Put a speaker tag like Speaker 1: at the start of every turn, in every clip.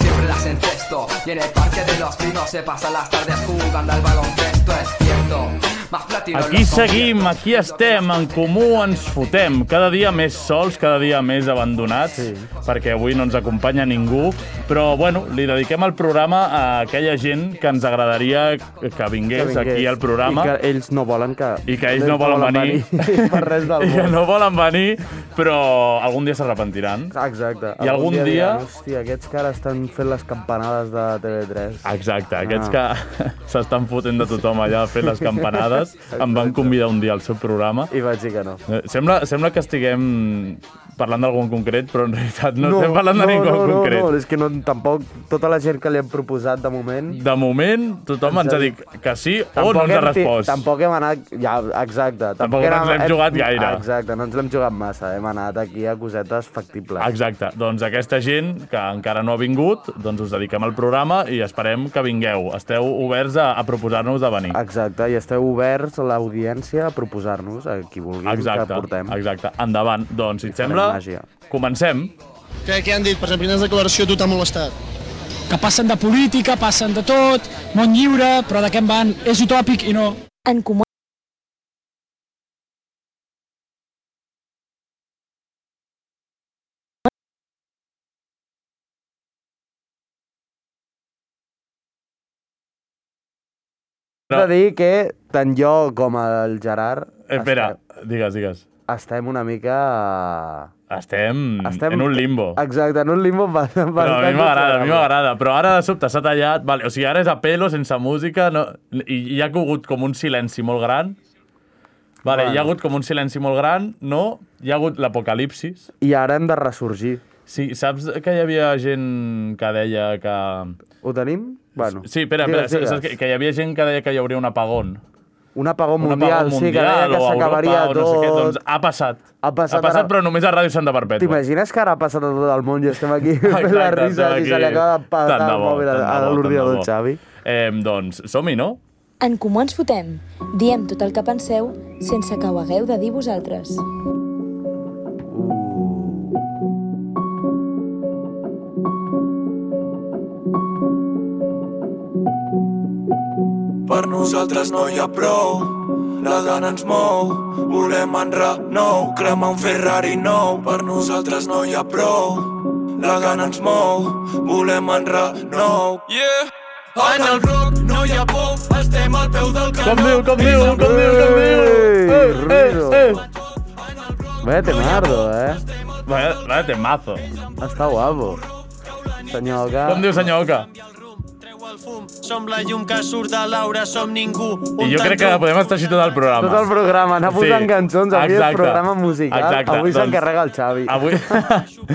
Speaker 1: Siempre las encesto. Y en el parque de los pinos se pasan las tardes jugando al baloncesto, es cierto. Más platino
Speaker 2: Aquí
Speaker 1: los
Speaker 2: seguim,
Speaker 1: conciertos.
Speaker 2: aquí estem, en comú ens fotem. Cada dia més sols, cada dia més abandonats, sí. perquè avui no ens acompanya ningú. Però, bueno, li dediquem el programa a aquella gent que ens agradaria que vingués,
Speaker 3: vingués.
Speaker 2: aquí al programa.
Speaker 3: I que ells no volen que...
Speaker 2: I que ells no volen venir.
Speaker 3: per res del
Speaker 2: I que
Speaker 3: món.
Speaker 2: no volen venir, però algun dia s'arrepentiran.
Speaker 3: Exacte.
Speaker 2: I algun dia-
Speaker 3: diran, Hòstia, aquests que ara estan fent les campanades de TV3.
Speaker 2: Exacte,
Speaker 3: Ah.
Speaker 2: aquests que s'estan fotent de tothom allà fent les campanades, em van convidar un dia al seu programa.
Speaker 3: I vaig dir que no.
Speaker 2: Eh, Sembla, sembla que estiguem parlant d'algú en concret, però en realitat no, estem parlant de
Speaker 3: no,
Speaker 2: ningú
Speaker 3: no,
Speaker 2: en concret.
Speaker 3: No, no, és que no, tampoc tota la gent que li hem proposat de moment...
Speaker 2: De moment, tothom ens ha dit que sí o no ens ha
Speaker 3: hem ti-
Speaker 2: respost.
Speaker 3: Tampoc hem anat... Ja, exacte.
Speaker 2: Tampoc no ens l'hem
Speaker 3: hem-
Speaker 2: jugat gaire.
Speaker 3: Exacte, no ens l'hem jugat massa. Hem anat aquí a cosetes factibles.
Speaker 2: Exacte. Doncs aquesta gent que encara no ha vingut, doncs us dediquem al programa i esperem que vingueu. Esteu oberts a, a proposar-nos de venir.
Speaker 3: Exacte, i esteu oberts a l'audiència a proposar-nos a qui vulguin
Speaker 2: Exacte,
Speaker 3: que portem.
Speaker 2: exacte. Endavant. Doncs, si et
Speaker 3: farem
Speaker 2: sembla,
Speaker 3: màgia.
Speaker 2: comencem.
Speaker 4: Què, què han dit? Per exemple, quina declaració a tu t'ha molestat?
Speaker 5: que passen de política, passen de tot, món lliure, però de què en van? És utòpic i no.
Speaker 6: En Comú
Speaker 2: No.
Speaker 3: No. de dir que tant jo com el Gerard
Speaker 2: Eh, espera,
Speaker 3: estem,
Speaker 2: digues, digues.
Speaker 3: estem una mica...
Speaker 2: Estem,
Speaker 3: Estem
Speaker 2: en un limbo.
Speaker 3: Exacte, en un limbo bastant...
Speaker 2: Però a mi m'agrada,
Speaker 3: bastant
Speaker 2: a mi
Speaker 3: considerable.
Speaker 2: m'agrada. Però ara de sobte s'ha tallat... Vale, o sigui, ara és a pelo, sense música, no, i hi ha hagut com un silenci molt gran. Vale, bueno. hi ha hagut com un silenci molt gran, no? Hi ha hagut l'apocalipsis.
Speaker 3: I ara hem de ressorgir.
Speaker 2: Sí, saps que hi havia gent que deia que...
Speaker 3: Ho tenim? Bueno,
Speaker 2: Sí, espera, espera, saps- saps que, que hi havia gent que deia que hi hauria un apagón.
Speaker 3: Un apagó
Speaker 2: Un
Speaker 3: mundial,
Speaker 2: apagón
Speaker 3: sí, que deia que
Speaker 2: o a
Speaker 3: s'acabaria
Speaker 2: Europa, o
Speaker 3: tot.
Speaker 2: No sé què, doncs ha passat.
Speaker 3: Ha passat
Speaker 2: ha passat
Speaker 3: ara-
Speaker 2: però només a Ràdio Santa Perpètua.
Speaker 3: T'imagines que ara ha passat a tot el món i estem aquí fent la
Speaker 2: Exacte,
Speaker 3: risa
Speaker 2: estem
Speaker 3: i se
Speaker 2: aquí.
Speaker 3: li acaba de
Speaker 2: Tant
Speaker 3: patar el
Speaker 2: bo,
Speaker 3: mòbil a,
Speaker 2: tant de
Speaker 3: a
Speaker 2: bo, tant de
Speaker 3: l'ordinador
Speaker 2: bo.
Speaker 3: del Xavi.
Speaker 2: Eh, doncs som-hi, no?
Speaker 6: En Comú Ens Fotem. Diem tot el que penseu sense que ho hagueu de dir vosaltres.
Speaker 7: Per nosaltres no hi ha prou, la gana ens mou, volem enrar nou, cremar un Ferrari nou. Per nosaltres no hi ha prou, la gana ens mou, volem enrar nou. Yeah! En el rock no hi ha por, estem al peu del canó.
Speaker 2: Com diu, com diu, com diu, com diu.
Speaker 3: Ei,
Speaker 2: Eh, eh, eh.
Speaker 3: Vaya temardo, eh?
Speaker 2: Vaya, vaya temazo.
Speaker 3: Està guapo. Senyor Oca...
Speaker 2: Com diu senyor Oca?
Speaker 8: Som la llum que surt de l'aura, som ningú.
Speaker 2: I jo crec que podem estar així tot el programa.
Speaker 3: Tot el programa, anar posant
Speaker 2: Sí,
Speaker 3: sí, cançons, avui
Speaker 2: exacte,
Speaker 3: el programa musical,
Speaker 2: exacte,
Speaker 3: avui
Speaker 2: doncs-
Speaker 3: s'encarrega el Xavi.
Speaker 2: Avui,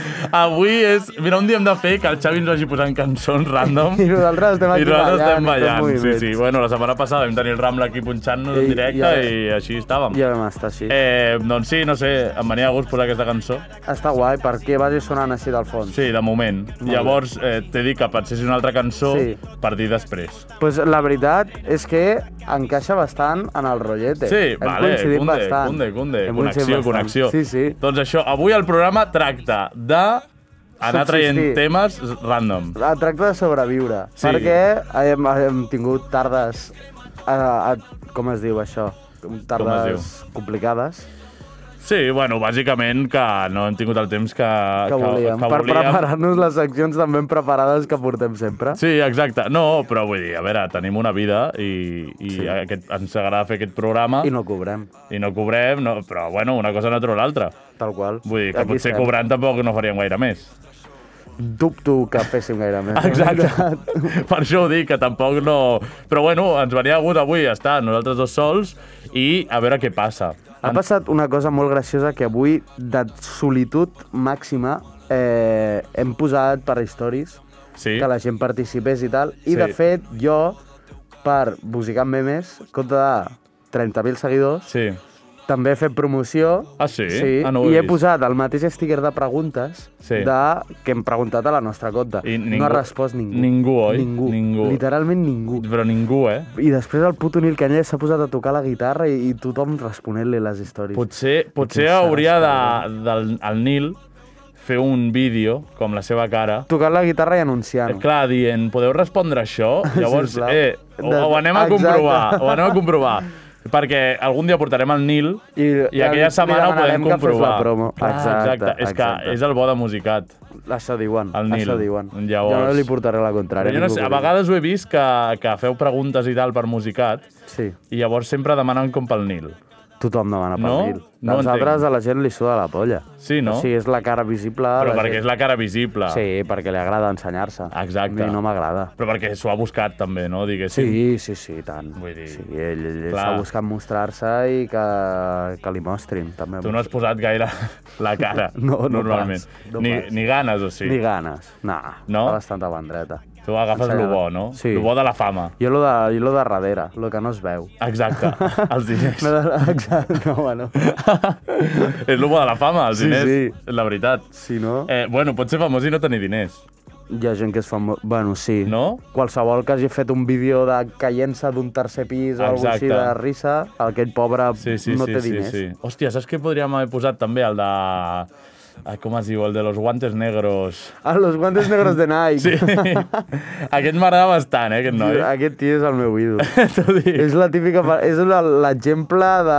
Speaker 2: avui és... Mira, un dia hem de fer que el Xavi ens vagi posant cançons random.
Speaker 3: I nosaltres estem aquí
Speaker 2: I nosaltres estem
Speaker 3: ballant i fent
Speaker 2: ballant. Sí,
Speaker 3: moviments.
Speaker 2: sí. Bueno, la setmana passada vam tenir el Rambla aquí punxant-nos en
Speaker 3: I-
Speaker 2: directe
Speaker 3: i
Speaker 2: ja,
Speaker 3: ara-
Speaker 2: i així estàvem.
Speaker 3: Ja vam estar així. Eh.
Speaker 2: Eh, doncs sí, no sé, em venia a gust posar aquesta cançó.
Speaker 3: Està guai, perquè vagi sonant així del fons.
Speaker 2: Sí, de moment.
Speaker 3: bé.
Speaker 2: Llavors, eh, t'he dit que pensessis una altra cançó
Speaker 3: Sí.
Speaker 2: per dir després.
Speaker 3: Pues la veritat és que encaixa bastant en el rotllete.
Speaker 2: Sí,
Speaker 3: Hem
Speaker 2: vale,
Speaker 3: coincidit
Speaker 2: Cunde,
Speaker 3: bastant.
Speaker 2: Cunde, Cunde,
Speaker 3: Hem coincidit
Speaker 2: connexió, connexió.
Speaker 3: bastant. Sí, sí.
Speaker 2: Doncs això, avui el programa tracta de anar traient
Speaker 3: Subsistir.
Speaker 2: temes random.
Speaker 3: La Ah, tracta de sobreviure,
Speaker 2: Sí.
Speaker 3: perquè hem, hem tingut tardes... A, a, com es diu això? Tardes complicades.
Speaker 2: Sí, bueno, bàsicament que no hem tingut el temps que,
Speaker 3: que volíem.
Speaker 2: que
Speaker 3: per
Speaker 2: volíem.
Speaker 3: preparar-nos les seccions tan ben preparades que portem sempre.
Speaker 2: Sí, exacte. No, però vull dir, a veure, tenim una vida i, i sí. aquest, ens agrada fer aquest programa
Speaker 3: I no cobrem,
Speaker 2: i no cobrem, no, però bueno, una cosa no treu l'altra.
Speaker 3: tal qual.
Speaker 2: Vull dir que
Speaker 3: Aquí
Speaker 2: potser
Speaker 3: estem.
Speaker 2: cobrant tampoc no faríem gaire més.
Speaker 3: Dubto que féssim gaire més.
Speaker 2: Exacte. per això ho dic, que tampoc no... Però bueno, ens venia hagut avui estar nosaltres dos sols i a veure què passa.
Speaker 3: Ha passat una cosa molt graciosa que avui, de solitud màxima, eh, hem posat per stories
Speaker 2: Sí.
Speaker 3: que la gent participés i tal. I,
Speaker 2: Sí.
Speaker 3: de fet, jo, per musicar memes, en compte de 30.000 seguidors,
Speaker 2: Sí.
Speaker 3: també he fet promoció.
Speaker 2: Ah, sí?
Speaker 3: sí
Speaker 2: Ah, no ho
Speaker 3: I
Speaker 2: he
Speaker 3: he,
Speaker 2: vist.
Speaker 3: posat el mateix sticker de preguntes
Speaker 2: Sí.
Speaker 3: de, que hem preguntat a la nostra compte.
Speaker 2: I
Speaker 3: No
Speaker 2: ningú-
Speaker 3: ha respost ningú.
Speaker 2: ningú, oi?
Speaker 3: Ningú.
Speaker 2: Ningú.
Speaker 3: Literalment ningú.
Speaker 2: Però ningú, eh?
Speaker 3: I després el puto Nil Canyelles s'ha posat a tocar la guitarra i, i tothom responent-li les històries.
Speaker 2: Potser, potser
Speaker 3: Quin
Speaker 2: hauria de,
Speaker 3: seràs,
Speaker 2: del el Nil fer un vídeo, com la seva cara,
Speaker 3: Tocant la guitarra i anunciant.
Speaker 2: Eh, Clar, dient, podeu respondre això? Llavors,
Speaker 3: Sisplau.
Speaker 2: eh, ho, ho anem a
Speaker 3: Exacte.
Speaker 2: comprovar, ho anem a comprovar. Perquè algun dia portarem el Nil i,
Speaker 3: I-
Speaker 2: i aquella
Speaker 3: li
Speaker 2: setmana ho podem
Speaker 3: demanarem que fes
Speaker 2: comprovar.
Speaker 3: la promo.
Speaker 2: Clar,
Speaker 3: Exacte,
Speaker 2: exacte. És
Speaker 3: exacte.
Speaker 2: que és el bo de musicat.
Speaker 3: Això diuen,
Speaker 2: El Nil.
Speaker 3: això diuen.
Speaker 2: Llavors-
Speaker 3: Jo no li portaré la contrària.
Speaker 2: Però jo no
Speaker 3: ningú
Speaker 2: sé, a
Speaker 3: que digui.
Speaker 2: vegades ho he vist que, que feu preguntes i tal per musicat
Speaker 3: Sí,
Speaker 2: i llavors sempre demanen com pel Nil.
Speaker 3: tothom demana pel
Speaker 2: No?
Speaker 3: Nil.
Speaker 2: No
Speaker 3: Dels
Speaker 2: entenc.
Speaker 3: altres a la gent li suda la polla.
Speaker 2: Sí, no?
Speaker 3: O sigui, és la cara visible...
Speaker 2: Però
Speaker 3: la
Speaker 2: perquè
Speaker 3: gent...
Speaker 2: és la cara visible.
Speaker 3: Ah, Sí, perquè li agrada ensenyar-se.
Speaker 2: Exacte.
Speaker 3: A mi no m'agrada.
Speaker 2: Però perquè s'ho ha buscat també, no? Diguéssim.
Speaker 3: Sí, sí, sí, i tant.
Speaker 2: Vull dir,
Speaker 3: sí, ell, ell
Speaker 2: clar.
Speaker 3: s'ha buscat mostrar-se i que, que li mostrin, també.
Speaker 2: Tu no has posat gaire la cara,
Speaker 3: No, no
Speaker 2: normalment.
Speaker 3: pas, no
Speaker 2: ni,
Speaker 3: pas.
Speaker 2: ni ganes, o sigui.
Speaker 3: Ni ganes. Nah,
Speaker 2: No?
Speaker 3: fa bastanta bandreta.
Speaker 2: Tu agafes
Speaker 3: Ensenyada.
Speaker 2: lo bo, no?
Speaker 3: Sí.
Speaker 2: Lo bo de la fama.
Speaker 3: Jo lo de, jo lo de darrere, lo que no es veu.
Speaker 2: Exacte, els diners.
Speaker 3: No, exacte, no, bueno.
Speaker 2: és lo bo de la fama, els
Speaker 3: Sí,
Speaker 2: diners,
Speaker 3: sí.
Speaker 2: la veritat.
Speaker 3: Si no...
Speaker 2: Eh, bueno, pots ser famós i no tenir diners.
Speaker 3: Hi ha gent que es fa... mo- Bueno, sí.
Speaker 2: No?
Speaker 3: Qualsevol que hagi fet un vídeo de caient-se d'un tercer pis o alguna així
Speaker 2: Exacte.
Speaker 3: de risa, aquell pobre
Speaker 2: Sí, sí,
Speaker 3: no
Speaker 2: sí,
Speaker 3: té
Speaker 2: sí,
Speaker 3: diners.
Speaker 2: sí. Hòstia, saps què podríem haver posat també? El de... ah, Com es diu? El de los guantes negros.
Speaker 3: A los guantes negros de Nike.
Speaker 2: Sí. aquest m'agrada bastant, eh, aquest noi.
Speaker 3: Aquest tio és el meu ídol.
Speaker 2: T'ho dic.
Speaker 3: és la típica... pa- És la- l'exemple de...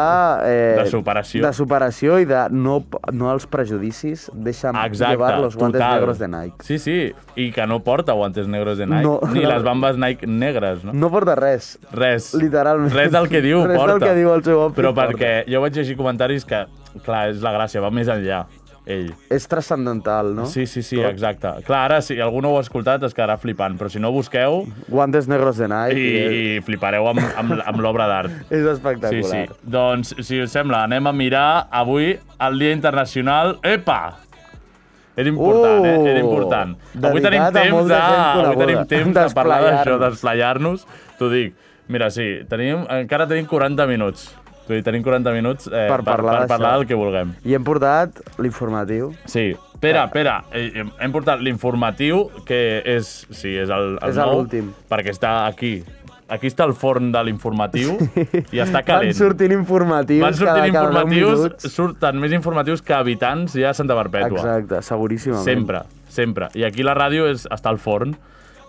Speaker 3: Eh,
Speaker 2: De superació.
Speaker 3: De superació i de no, no els prejudicis. Deixa'm
Speaker 2: Exacte,
Speaker 3: llevar los guantes
Speaker 2: total.
Speaker 3: negros de Nike.
Speaker 2: Sí, sí, i que no porta guantes negros de Nike,
Speaker 3: No.
Speaker 2: ni les bambes Nike negres, no?
Speaker 3: No porta res.
Speaker 2: Res.
Speaker 3: Literalment.
Speaker 2: Res del que diu
Speaker 3: Res del
Speaker 2: porta.
Speaker 3: que diu el seu outfit
Speaker 2: Però
Speaker 3: porta.
Speaker 2: perquè jo vaig llegir comentaris que, clar, és la gràcia, va més enllà, ell.
Speaker 3: És transcendental, no?
Speaker 2: Sí, sí, sí, exacte. Clar, ara, si algú no ho ha escoltat, es quedarà flipant, però si no, busqueu
Speaker 3: Guantes negros de
Speaker 2: i,
Speaker 3: Nike.
Speaker 2: i flipareu amb, amb, amb l'obra d'art.
Speaker 3: És
Speaker 2: Sí,
Speaker 3: espectacular.
Speaker 2: sí. Doncs, si us sembla, anem a mirar avui el Dia Internacional... Epa! Era important, eh?
Speaker 3: Oh!
Speaker 2: Era important. avui
Speaker 3: Dedicat
Speaker 2: tenim
Speaker 3: a
Speaker 2: temps
Speaker 3: molta
Speaker 2: de,
Speaker 3: gent
Speaker 2: avui
Speaker 3: coneguda.
Speaker 2: tenim temps de parlar d'això,
Speaker 3: D'esplaiar-nos.
Speaker 2: d'esplaiar-nos. T'ho dic. Mira, sí, tenim, encara tenim 40 minuts. T'ho dic, tenim 40 minuts eh,
Speaker 3: Per parlar
Speaker 2: per,
Speaker 3: d'això.
Speaker 2: parlar del que vulguem.
Speaker 3: I hem portat l'informatiu.
Speaker 2: Sí. Espera, espera. Eh, eh, Hem portat l'informatiu, que és, sí, és el, el
Speaker 3: És
Speaker 2: nou,
Speaker 3: l'últim.
Speaker 2: perquè està aquí. Aquí està el forn de l'informatiu i està calent.
Speaker 3: Van sortint informatius
Speaker 2: Van sortint
Speaker 3: cada, cada deu
Speaker 2: informatius,
Speaker 3: minuts.
Speaker 2: surten més informatius que habitants ja a Santa Perpètua.
Speaker 3: Exacte, seguríssimament.
Speaker 2: Sempre, sempre. I aquí la ràdio és, està al forn.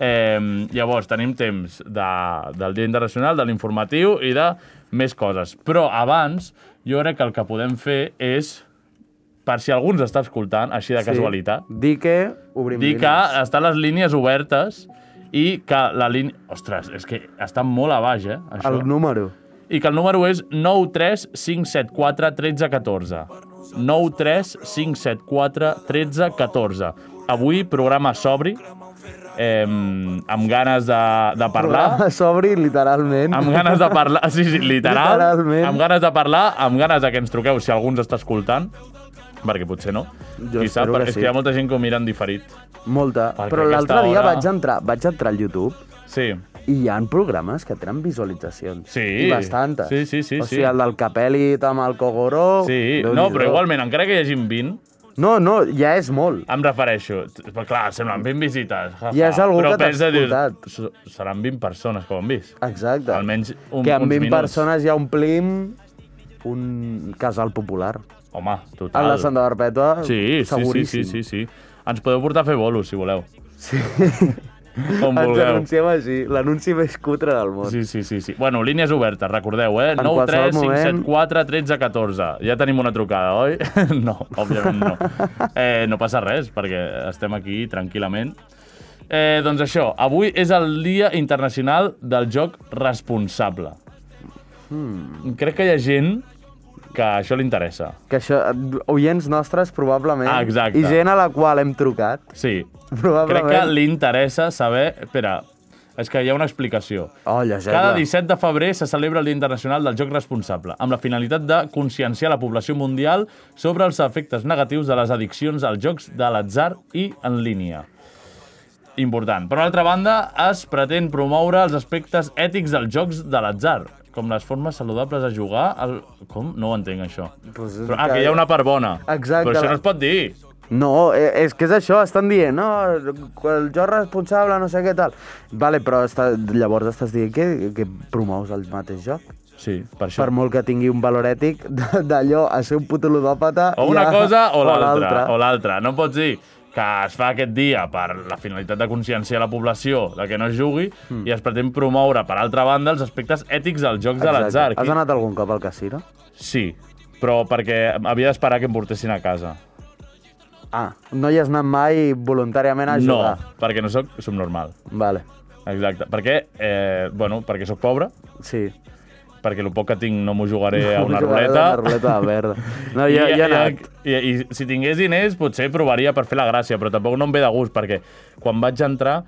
Speaker 2: Eh, llavors, tenim temps de, del Dia Internacional, de l'informatiu i de més coses. Però abans, jo crec que el que podem fer és, per si algú ens està escoltant, així de
Speaker 3: Sí.
Speaker 2: casualitat,
Speaker 3: Dir que obrim
Speaker 2: dir que
Speaker 3: línies.
Speaker 2: estan les línies obertes i que la línia... Ostres, és que està molt a baix, eh, això
Speaker 3: El número.
Speaker 2: i que el número és 93574 1314. 93574 1314. Avui, programa sobri, eh, amb ganes de, de parlar,
Speaker 3: Programa S'obri literalment.
Speaker 2: amb ganes de parlar, sí, sí, literal,
Speaker 3: Literalment.
Speaker 2: amb ganes de parlar, amb ganes de que ens truqueu, si algú ens està escoltant, perquè potser no.
Speaker 3: Jo
Speaker 2: Qui sap,
Speaker 3: espero
Speaker 2: perquè
Speaker 3: que
Speaker 2: és
Speaker 3: sí.
Speaker 2: que hi ha molta gent que ho mira en diferit.
Speaker 3: Molta.
Speaker 2: Perquè
Speaker 3: Però l'altre
Speaker 2: aquesta
Speaker 3: dia
Speaker 2: hora-
Speaker 3: vaig entrar, vaig entrar al YouTube
Speaker 2: Sí,
Speaker 3: i hi ha programes que tenen visualitzacions.
Speaker 2: Sí.
Speaker 3: I bastantes.
Speaker 2: Sí, sí, sí,
Speaker 3: O
Speaker 2: sí.
Speaker 3: sigui, el del Capelit amb el Kogoro...
Speaker 2: sí.
Speaker 3: Oh, Déu-n'hi-do.
Speaker 2: No, però igualment, encara que hi hagin 20,
Speaker 3: No, no, ja és molt.
Speaker 2: Em refereixo, t- però clar, semblen 20 visites. Ja
Speaker 3: I és algú que t'ha escoltat.
Speaker 2: Seran 20 persones que ho han vist.
Speaker 3: Exacte.
Speaker 2: Almenys un,
Speaker 3: que amb
Speaker 2: uns
Speaker 3: 20
Speaker 2: minuts.
Speaker 3: persones ja omplim un casal popular.
Speaker 2: Home,
Speaker 3: A
Speaker 2: total.
Speaker 3: la Santa Barpeta,
Speaker 2: sí, sí, sí, sí,
Speaker 3: seguríssim.
Speaker 2: sí, sí. Ens podeu portar a fer bolos, si voleu. Sí. Com
Speaker 3: Ens
Speaker 2: vulgueu.
Speaker 3: anunciem així, l'anunci més cutre del món.
Speaker 2: Sí, sí, sí, sí. Bueno, línies obertes, recordeu, eh?
Speaker 3: En
Speaker 2: 9 3 5
Speaker 3: qualsevol
Speaker 2: 7 4 13 14. Ja tenim una trucada, oi? no, òbviament no. Eh, no passa res, perquè estem aquí tranquil·lament. Eh, doncs això, avui és el Dia Internacional del Joc Responsable. Hmm. Crec que hi ha gent que això li interessa.
Speaker 3: Que això, oients nostres, probablement,
Speaker 2: Ah, exacte.
Speaker 3: i gent a la qual hem trucat,
Speaker 2: Sí. Crec
Speaker 3: probablement...
Speaker 2: que li interessa saber... Espera, és que hi ha una explicació.
Speaker 3: Oh, llegeix-la.
Speaker 2: Cada 17 de febrer se celebra el Dia Internacional del Joc Responsable, amb la finalitat de conscienciar la població mundial sobre els efectes negatius de les addiccions als jocs de l'atzar i en línia. important. Per una altra banda, es pretén promoure els aspectes ètics dels jocs de l'atzar, com les formes saludables a jugar... El... Com? No ho entenc, això.
Speaker 3: Pues és
Speaker 2: Però, ah, que hi ha una part bona.
Speaker 3: Exacte.
Speaker 2: Però això no es pot dir.
Speaker 3: No, eh, és que és això, estan dient, no, el jo responsable, no sé què tal. Vale, però està, llavors estàs dient que, que promous el mateix joc.
Speaker 2: Sí, per això.
Speaker 3: Per molt que tingui un valor ètic d- d'allò a ser un puto ludòpata...
Speaker 2: O una
Speaker 3: ja-
Speaker 2: cosa o l'altra. O l'altra. No pots dir que es fa aquest dia per la finalitat de conscienciar la població de que no es jugui
Speaker 3: Hmm.
Speaker 2: mm. i es pretén promoure, per altra banda, els aspectes ètics dels jocs de
Speaker 3: Exacte.
Speaker 2: l'atzar.
Speaker 3: Has anat algun cop al casino?
Speaker 2: Sí, però perquè havia d'esperar que em portessin a casa.
Speaker 3: Ah, no hi has anat mai voluntàriament a
Speaker 2: no,
Speaker 3: jugar?
Speaker 2: perquè no sóc subnormal.
Speaker 3: Vale,
Speaker 2: Exacte. Perquè, eh, bueno, perquè sóc pobre,
Speaker 3: sí.
Speaker 2: perquè el poc que tinc no m'ho jugaré a una
Speaker 3: Jugador de
Speaker 2: ruleta.
Speaker 3: ruleta verda. No, jo,
Speaker 2: I,
Speaker 3: jo he
Speaker 2: i,
Speaker 3: anat.
Speaker 2: i, i, si tingués diners, potser provaria per fer la gràcia, però tampoc no em ve de gust, perquè quan vaig entrar,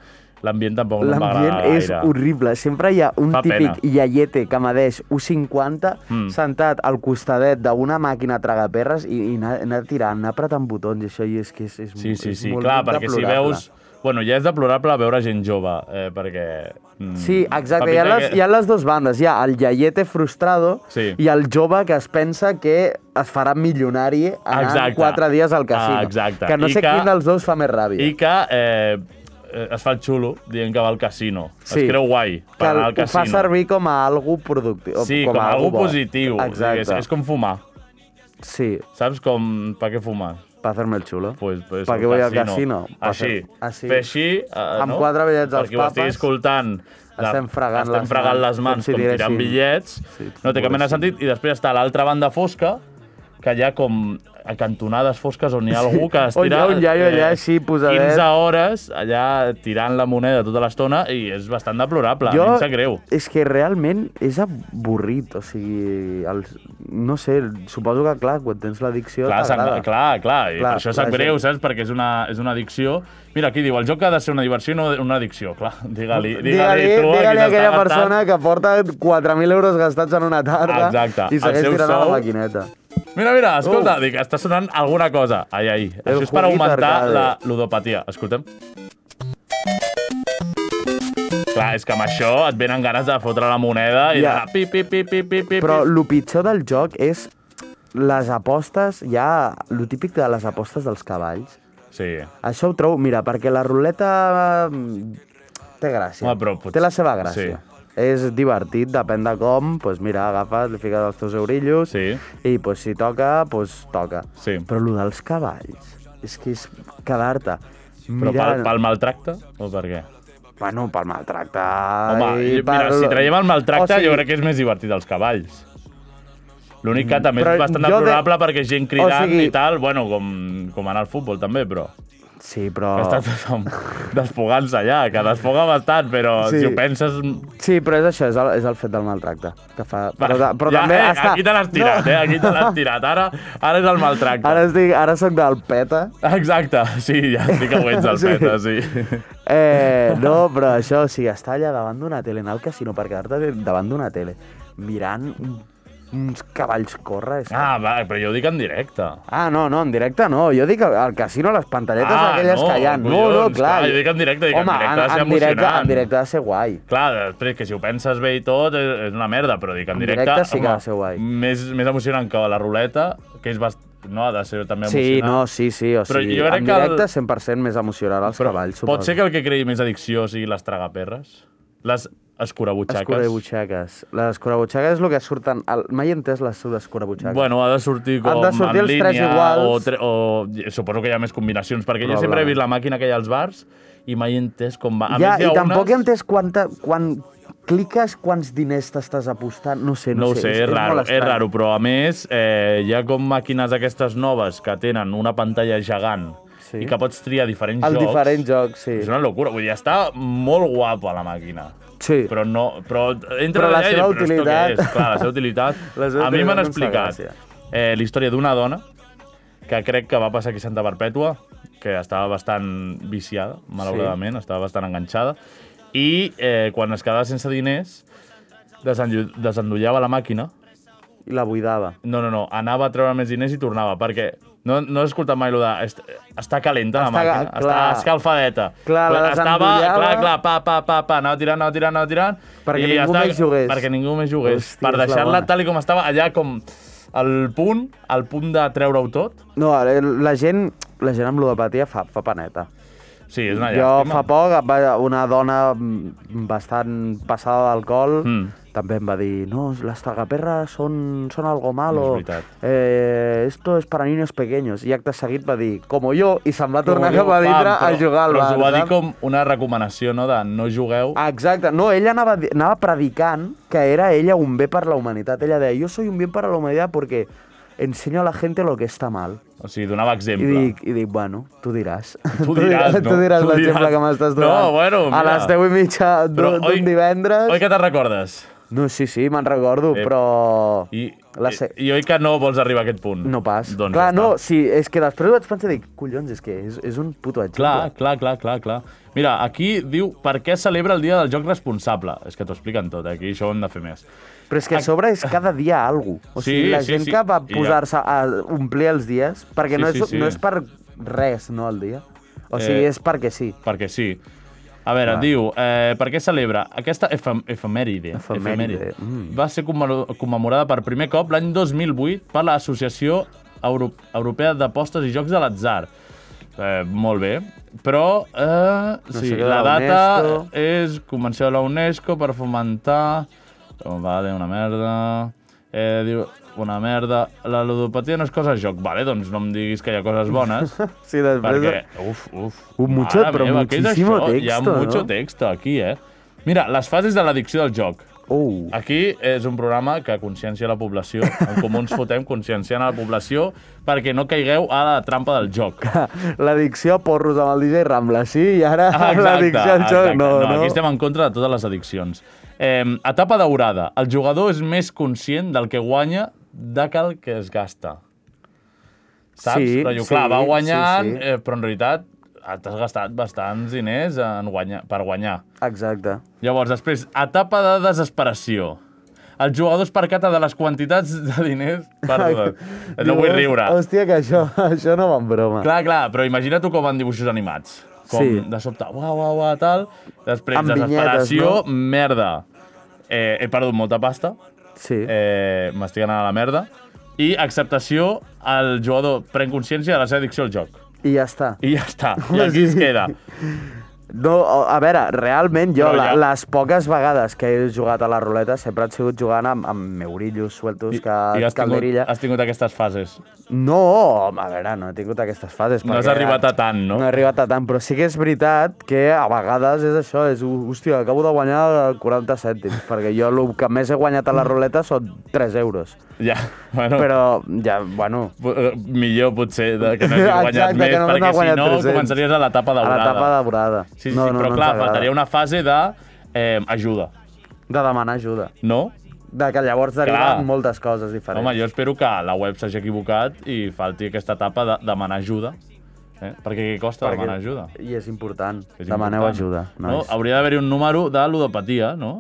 Speaker 2: l'ambient tampoc no em va
Speaker 3: L'ambient
Speaker 2: agradar
Speaker 3: és
Speaker 2: gaire.
Speaker 3: horrible. Sempre hi ha un
Speaker 2: Fa
Speaker 3: típic
Speaker 2: pena.
Speaker 3: iaiete que medeix 1,50
Speaker 2: Mm.
Speaker 3: mm. sentat al costadet d'una màquina tragaperres i, i anar, anar tirant, anar apretant botons i això i és que és, és,
Speaker 2: Sí, sí,
Speaker 3: és
Speaker 2: sí,
Speaker 3: molt
Speaker 2: clar, perquè si
Speaker 3: deplorable.
Speaker 2: veus... Bueno, ja és deplorable veure gent jove, eh, perquè... mm,
Speaker 3: Sí, exacte,
Speaker 2: fa
Speaker 3: hi ha,
Speaker 2: pinta
Speaker 3: les,
Speaker 2: que-
Speaker 3: hi ha les dues bandes, hi ha el iaiete frustrado
Speaker 2: Sí.
Speaker 3: i el jove que es pensa que es farà milionari anant
Speaker 2: Exacte.
Speaker 3: quatre dies al casino.
Speaker 2: Ah, exacte.
Speaker 3: Que no
Speaker 2: I
Speaker 3: sé
Speaker 2: que-
Speaker 3: quin dels dos fa més ràbia.
Speaker 2: I que eh, eh, es fa el xulo dient que va al casino. Sí. Es creu guai per
Speaker 3: que
Speaker 2: anar al
Speaker 3: ho fa
Speaker 2: casino.
Speaker 3: servir com a algo productiu.
Speaker 2: Sí, com,
Speaker 3: com
Speaker 2: a
Speaker 3: a
Speaker 2: algo
Speaker 3: algo bo.
Speaker 2: positiu.
Speaker 3: Exacte.
Speaker 2: digués. És com fumar.
Speaker 3: Sí,
Speaker 2: Saps com... Per què fumar?
Speaker 3: para hacerme el chulo.
Speaker 2: Pues, pues,
Speaker 3: ¿Para
Speaker 2: un
Speaker 3: qué voy al
Speaker 2: casino.
Speaker 3: casino? Pa
Speaker 2: Així.
Speaker 3: fer- així.
Speaker 2: Fer així, eh,
Speaker 3: Amb
Speaker 2: no?
Speaker 3: quatre bitllets als
Speaker 2: Perquè ho estigui
Speaker 3: papes.
Speaker 2: escoltant.
Speaker 3: Estem fregant
Speaker 2: estem
Speaker 3: les
Speaker 2: fregant
Speaker 3: mans,
Speaker 2: les mans,
Speaker 3: com si
Speaker 2: com tirant
Speaker 3: diguéssim-
Speaker 2: bitllets.
Speaker 3: Sí,
Speaker 2: no té cap mena de
Speaker 3: diguéssim.
Speaker 2: sentit. I després està l'altra banda fosca, que hi ha com a cantonades fosques on hi ha algú que es
Speaker 3: On hi
Speaker 2: tira
Speaker 3: ha un iaio allà així, posadet.
Speaker 2: 15 hores allà tirant la moneda tota l'estona i és bastant deplorable, jo... a mi em sap greu.
Speaker 3: És que realment és avorrit, o sigui, els, no sé, suposo que clar, quan tens l'addicció
Speaker 2: Clar, sap,
Speaker 3: t'agrada.
Speaker 2: clar, clar, i
Speaker 3: Tota Clar,
Speaker 2: per això sap
Speaker 3: clar,
Speaker 2: greu,
Speaker 3: sí.
Speaker 2: saps? Perquè és una, és una addicció. Mira, aquí diu, el joc ha de ser una diversió i no una addicció. Clar, digue-li digue
Speaker 3: Digue-li
Speaker 2: tu
Speaker 3: digue
Speaker 2: qui
Speaker 3: a aquella
Speaker 2: t'està
Speaker 3: persona
Speaker 2: gastant.
Speaker 3: que porta 4.000 euros gastats en una tarda
Speaker 2: Exacte,
Speaker 3: i
Speaker 2: el
Speaker 3: segueix
Speaker 2: seu
Speaker 3: tirant a
Speaker 2: sou.
Speaker 3: la maquineta.
Speaker 2: Mira, mira, escolta, dic, està sonant alguna cosa. Ai, ai,
Speaker 3: El
Speaker 2: això és per
Speaker 3: juguito
Speaker 2: augmentar
Speaker 3: arcade.
Speaker 2: la ludopatia. Escoltem. Clar, és que amb això et venen ganes de fotre la moneda i
Speaker 3: Ja.
Speaker 2: yeah. pi, pi, pi, pi, pi, pi,
Speaker 3: Però
Speaker 2: pi.
Speaker 3: el pitjor del joc és les apostes, ja, el típic de les apostes dels cavalls.
Speaker 2: Sí.
Speaker 3: Això ho trobo, mira, perquè la ruleta mm, té gràcia.
Speaker 2: Home, però potser-
Speaker 3: Té la seva gràcia. Sí. És divertit, depèn de com, doncs mira, agafes, li fiques els teus eurillos
Speaker 2: Sí.
Speaker 3: i doncs, si toca, doncs toca.
Speaker 2: Sí.
Speaker 3: Però el dels cavalls, és que és quedar-te
Speaker 2: Però pel,
Speaker 3: mirant...
Speaker 2: pel maltracte o per què?
Speaker 3: Bueno, pel maltracte...
Speaker 2: Home,
Speaker 3: i
Speaker 2: jo- mira,
Speaker 3: pel-
Speaker 2: si traiem el maltracte,
Speaker 3: o sigui,
Speaker 2: jo crec que és més divertit els cavalls. L'únic que també és
Speaker 3: Mm. però
Speaker 2: bastant
Speaker 3: jo de-
Speaker 2: deplorable perquè és gent cridant
Speaker 3: O sigui-
Speaker 2: i tal, bueno, com, com anar al futbol també, però...
Speaker 3: Sí, però...
Speaker 2: Oh. Està tothom despogant-se allà, que desfoga bastant, però
Speaker 3: Sí.
Speaker 2: si ho penses...
Speaker 3: Sí, però és això, és el, és el fet del maltracte. Que fa... Però,
Speaker 2: Va,
Speaker 3: de- però també
Speaker 2: eh,
Speaker 3: està...
Speaker 2: Aquí te l'has tirat, eh? Aquí te l'has tirat. Ara, ara és el maltracte.
Speaker 3: Ara, estic, ara sóc del peta.
Speaker 2: Exacte, sí, ja sí que ho ets el
Speaker 3: Sí.
Speaker 2: peta, sí.
Speaker 3: Eh, no, però això, o sigui, estar allà davant d'una tele, anar al casino per quedar-te de- davant d'una tele, mirant un- uns cavalls córrer... És... Ah.
Speaker 2: Ah, va, però jo ho dic en directe.
Speaker 3: ah, no, no, en directe no. Jo dic al- al casino les pantalletes
Speaker 2: Ah,
Speaker 3: aquelles
Speaker 2: no,
Speaker 3: que hi ha. No,
Speaker 2: collons,
Speaker 3: no, clar.
Speaker 2: clar, jo dic en directe, dic, en
Speaker 3: Home,
Speaker 2: directe ha de ser
Speaker 3: en, en, directe,
Speaker 2: emocionant.
Speaker 3: en directe ha de ser guai.
Speaker 2: Clar, després, que si ho penses bé i tot, és, és una merda, però dic, en
Speaker 3: En
Speaker 2: directe...
Speaker 3: directe sí que va ser guai.
Speaker 2: Més, més emocionant que la ruleta, que és bast... no, ha de ser també
Speaker 3: Sí,
Speaker 2: emocionant.
Speaker 3: no, sí, sí, o
Speaker 2: Però
Speaker 3: sigui,
Speaker 2: jo crec
Speaker 3: en
Speaker 2: que el-
Speaker 3: directe 100% més emocionarà els cavalls, suposo.
Speaker 2: Pot ser que el que creï més addicció sigui les tragaperres? Les escurabutxaques?
Speaker 3: Escurabutxaques. Les escurabutxaques és el que surten... El... Mai he entès les escurabutxaques.
Speaker 2: Bueno, ha de sortir com
Speaker 3: Han de sortir
Speaker 2: en
Speaker 3: els
Speaker 2: línia
Speaker 3: tres iguals.
Speaker 2: o, tre... o suposo que hi ha més combinacions, perquè jo
Speaker 3: Probablement.
Speaker 2: sempre he vist la màquina que hi ha als bars i mai he entès com va. A
Speaker 3: ja,
Speaker 2: més, hi ha
Speaker 3: i tampoc he
Speaker 2: unes...
Speaker 3: entès quanta, quan cliques quants diners t'estàs apostant. No sé,
Speaker 2: No
Speaker 3: no,
Speaker 2: ho sé, és, és
Speaker 3: molt
Speaker 2: raro, és
Speaker 3: estrany.
Speaker 2: raro, però a més eh, hi ha com màquines aquestes noves que tenen una pantalla gegant
Speaker 3: Sí.
Speaker 2: i que pots triar diferents
Speaker 3: El
Speaker 2: jocs.
Speaker 3: diferent joc, sí.
Speaker 2: És una locura, vull dir, està molt guapa la màquina.
Speaker 3: Sí.
Speaker 2: Però no, però entra
Speaker 3: Però la
Speaker 2: allà i
Speaker 3: seva
Speaker 2: dius, però
Speaker 3: utilitat-
Speaker 2: esto què és? Clar, la seva utilitat.
Speaker 3: La seva
Speaker 2: a mi
Speaker 3: utilitat
Speaker 2: m'han
Speaker 3: no em fa
Speaker 2: explicat
Speaker 3: gràcia.
Speaker 2: eh, la història d'una dona que crec que va passar aquí a Santa Perpètua, que estava bastant viciada, malauradament, sí. estava bastant enganxada, i eh, quan es quedava sense diners, desenllu- desendollava la màquina
Speaker 3: I la buidava.
Speaker 2: no, no, no, anava a treure més diners i tornava, perquè No, no he escoltat mai allò de... "Est- Està calenta la
Speaker 3: Està
Speaker 2: màquina,
Speaker 3: ca-
Speaker 2: està
Speaker 3: clar.
Speaker 2: escalfadeta.
Speaker 3: Clar, la
Speaker 2: Estava,
Speaker 3: desendollava.
Speaker 2: clar, clar, pa, pa, pa, pa, anava tirant, anava tirant, anava tirant...
Speaker 3: Perquè
Speaker 2: i
Speaker 3: ningú
Speaker 2: estava-
Speaker 3: més jugués.
Speaker 2: Perquè ningú més jugués.
Speaker 3: Hòstia,
Speaker 2: per
Speaker 3: és la
Speaker 2: deixar-la
Speaker 3: bona.
Speaker 2: tal i com estava, allà com al punt, al punt de treure-ho tot.
Speaker 3: No, eh, la gent, la gent amb ludopatia fa, fa paneta.
Speaker 2: Sí, és una
Speaker 3: Jo
Speaker 2: llàstima.
Speaker 3: fa poc va- una dona mm, bastant passada d'alcohol
Speaker 2: Mm.
Speaker 3: també em va dir, no, les tagaperres són, són algo malo,
Speaker 2: No és veritat.
Speaker 3: eh, esto es para niños pequeños. I acte seguit va dir, como yo, i se'n va tornar
Speaker 2: Com
Speaker 3: cap a
Speaker 2: diu,
Speaker 3: dintre
Speaker 2: pam,
Speaker 3: a
Speaker 2: però-
Speaker 3: jugar al
Speaker 2: Però
Speaker 3: bar.
Speaker 2: us ho va dir
Speaker 3: saps? Ah.
Speaker 2: com una recomanació, no?, de no jugueu.
Speaker 3: Exacte, no, ella anava, di- anava predicant que era ella un bé per la humanitat. Ella deia, yo soy un bien para la humanidad porque enseño a la gente lo que está mal.
Speaker 2: O sigui, donava
Speaker 3: I
Speaker 2: exemple.
Speaker 3: dic, I dic, bueno, tu diràs.
Speaker 2: Tu diràs, no?
Speaker 3: tu diràs
Speaker 2: Tu
Speaker 3: l'exemple
Speaker 2: diràs.
Speaker 3: que m'estàs
Speaker 2: No,
Speaker 3: donant.
Speaker 2: bueno, mira.
Speaker 3: A les 10 i mitja d'un
Speaker 2: oi-
Speaker 3: d'un divendres.
Speaker 2: Oi que te'n recordes?
Speaker 3: No, sí, sí, me'n recordo,
Speaker 2: Eh,
Speaker 3: però...
Speaker 2: I,
Speaker 3: La se...
Speaker 2: i, I oi que no vols arribar a aquest punt?
Speaker 3: No pas.
Speaker 2: Doncs
Speaker 3: clar,
Speaker 2: ja
Speaker 3: no,
Speaker 2: està.
Speaker 3: sí, és que després ho vaig pensar i dic, collons, és que és, és un puto exemple.
Speaker 2: Clar, clar, clar, clar, clar. Mira, aquí diu per què celebra el dia del joc responsable. És que t'ho expliquen tot, eh? aquí això ho hem de fer més.
Speaker 3: Però és que a sobre és cada dia algú. O
Speaker 2: Sí,
Speaker 3: sigui, la
Speaker 2: sí,
Speaker 3: gent
Speaker 2: sí.
Speaker 3: que va
Speaker 2: I ja.
Speaker 3: posar-se a omplir els dies, perquè
Speaker 2: Sí,
Speaker 3: no, és,
Speaker 2: sí, sí.
Speaker 3: no és per res, no, el dia. O sigui,
Speaker 2: Eh,
Speaker 3: és perquè sí.
Speaker 2: Perquè sí. A veure,
Speaker 3: Va.
Speaker 2: diu, eh, per què celebra? Aquesta efem efemèride,
Speaker 3: Efemèride, mm.
Speaker 2: va ser commemo- commemorada per primer cop l'any 2008 per l'Associació Euro Europea d'Apostes i Jocs de l'Atzar. Eh, molt bé. Però eh,
Speaker 3: No
Speaker 2: sí,
Speaker 3: sé què de
Speaker 2: la
Speaker 3: la
Speaker 2: data
Speaker 3: UNESCO.
Speaker 2: és Convenció de la UNESCO per fomentar... Oh, vale, una merda... Eh, diu, una merda... La ludopatia no és cosa de joc. Vale, doncs no em diguis que hi ha coses bones.
Speaker 3: Sí, després...
Speaker 2: Perquè, uf, uf.
Speaker 3: Un mucho-
Speaker 2: mare
Speaker 3: però
Speaker 2: meva, què és
Speaker 3: muchísimo
Speaker 2: això? Hi ha
Speaker 3: texto,
Speaker 2: mucho
Speaker 3: no?
Speaker 2: texto aquí, eh? Mira, les fases de l'addicció del joc.
Speaker 3: Uh,
Speaker 2: Aquí és un programa que consciencia la població. En comú ens fotem conscienciant a la població perquè no caigueu a la trampa del joc.
Speaker 3: l'addicció a porros amb el DJ Rambla, sí, i ara
Speaker 2: Ah,
Speaker 3: amb l'addicció al
Speaker 2: exacte.
Speaker 3: joc, no, no.
Speaker 2: Aquí estem en contra de totes les addiccions. Eh, etapa daurada. El jugador és més conscient del que guanya de cal que es gasta. Saps?
Speaker 3: Sí,
Speaker 2: Però, diu,
Speaker 3: sí,
Speaker 2: clar, va guanyant,
Speaker 3: sí, sí.
Speaker 2: Eh, però en realitat t'has gastat bastants diners en guanyar, per guanyar.
Speaker 3: Exacte.
Speaker 2: Llavors, després, etapa de desesperació. El jugador es percata de les quantitats de diners... Perdó, no
Speaker 3: Diu,
Speaker 2: vull riure.
Speaker 3: Hòstia, que això, això no va en broma.
Speaker 2: Clar, clar, però imagina-t'ho com en dibuixos animats. Com sí.
Speaker 3: Sí.
Speaker 2: de sobte, uau, uau, uau, tal. Després,
Speaker 3: Amb vinyetes,
Speaker 2: desesperació, merda. Eh, he perdut molta pasta,
Speaker 3: Sí.
Speaker 2: eh, m'estic anant a la merda. I acceptació, el jugador pren consciència de la seva addicció al joc.
Speaker 3: I ja està.
Speaker 2: I ja està, i aquí es queda.
Speaker 3: No, o- a veure, realment jo,
Speaker 2: Però
Speaker 3: la,
Speaker 2: ja-
Speaker 3: les poques vegades que he jugat a la ruleta sempre han sigut jugant amb, amb meurillos, sueltos, que,
Speaker 2: I has tingut,
Speaker 3: calderilla...
Speaker 2: has tingut aquestes fases.
Speaker 3: No, home, a veure, no he tingut aquestes fases.
Speaker 2: No has
Speaker 3: perquè
Speaker 2: arribat a tant, no?
Speaker 3: No he arribat a tant, però sí que és veritat que a vegades és això, és, hòstia, acabo de guanyar 40 cèntims, perquè jo el que més he guanyat a la ruleta són 3 euros.
Speaker 2: Ja, bueno...
Speaker 3: Però ja, bueno,
Speaker 2: Po- eh, millor potser de que no hagi guanyat
Speaker 3: Exacte,
Speaker 2: més,
Speaker 3: que només
Speaker 2: perquè
Speaker 3: n'ha guanyat
Speaker 2: si no
Speaker 3: 300.
Speaker 2: començaries a l'etapa
Speaker 3: a
Speaker 2: daurada.
Speaker 3: l'etapa daurada.
Speaker 2: Sí, sí, no, però
Speaker 3: ens
Speaker 2: clar,
Speaker 3: agrada.
Speaker 2: faltaria una fase de eh, ajuda,
Speaker 3: De demanar ajuda.
Speaker 2: no?
Speaker 3: De que llavors
Speaker 2: Clar.
Speaker 3: deriven moltes coses
Speaker 2: Però,
Speaker 3: diferents.
Speaker 2: Home, jo espero que la web s'hagi equivocat i falti aquesta etapa de demanar ajuda. Eh? Perquè què costa
Speaker 3: Perquè-
Speaker 2: demanar ajuda?
Speaker 3: I és important.
Speaker 2: És
Speaker 3: Demaneu
Speaker 2: important.
Speaker 3: ajuda.
Speaker 2: No,
Speaker 3: nois.
Speaker 2: hauria d'haver-hi un número de ludopatia, no?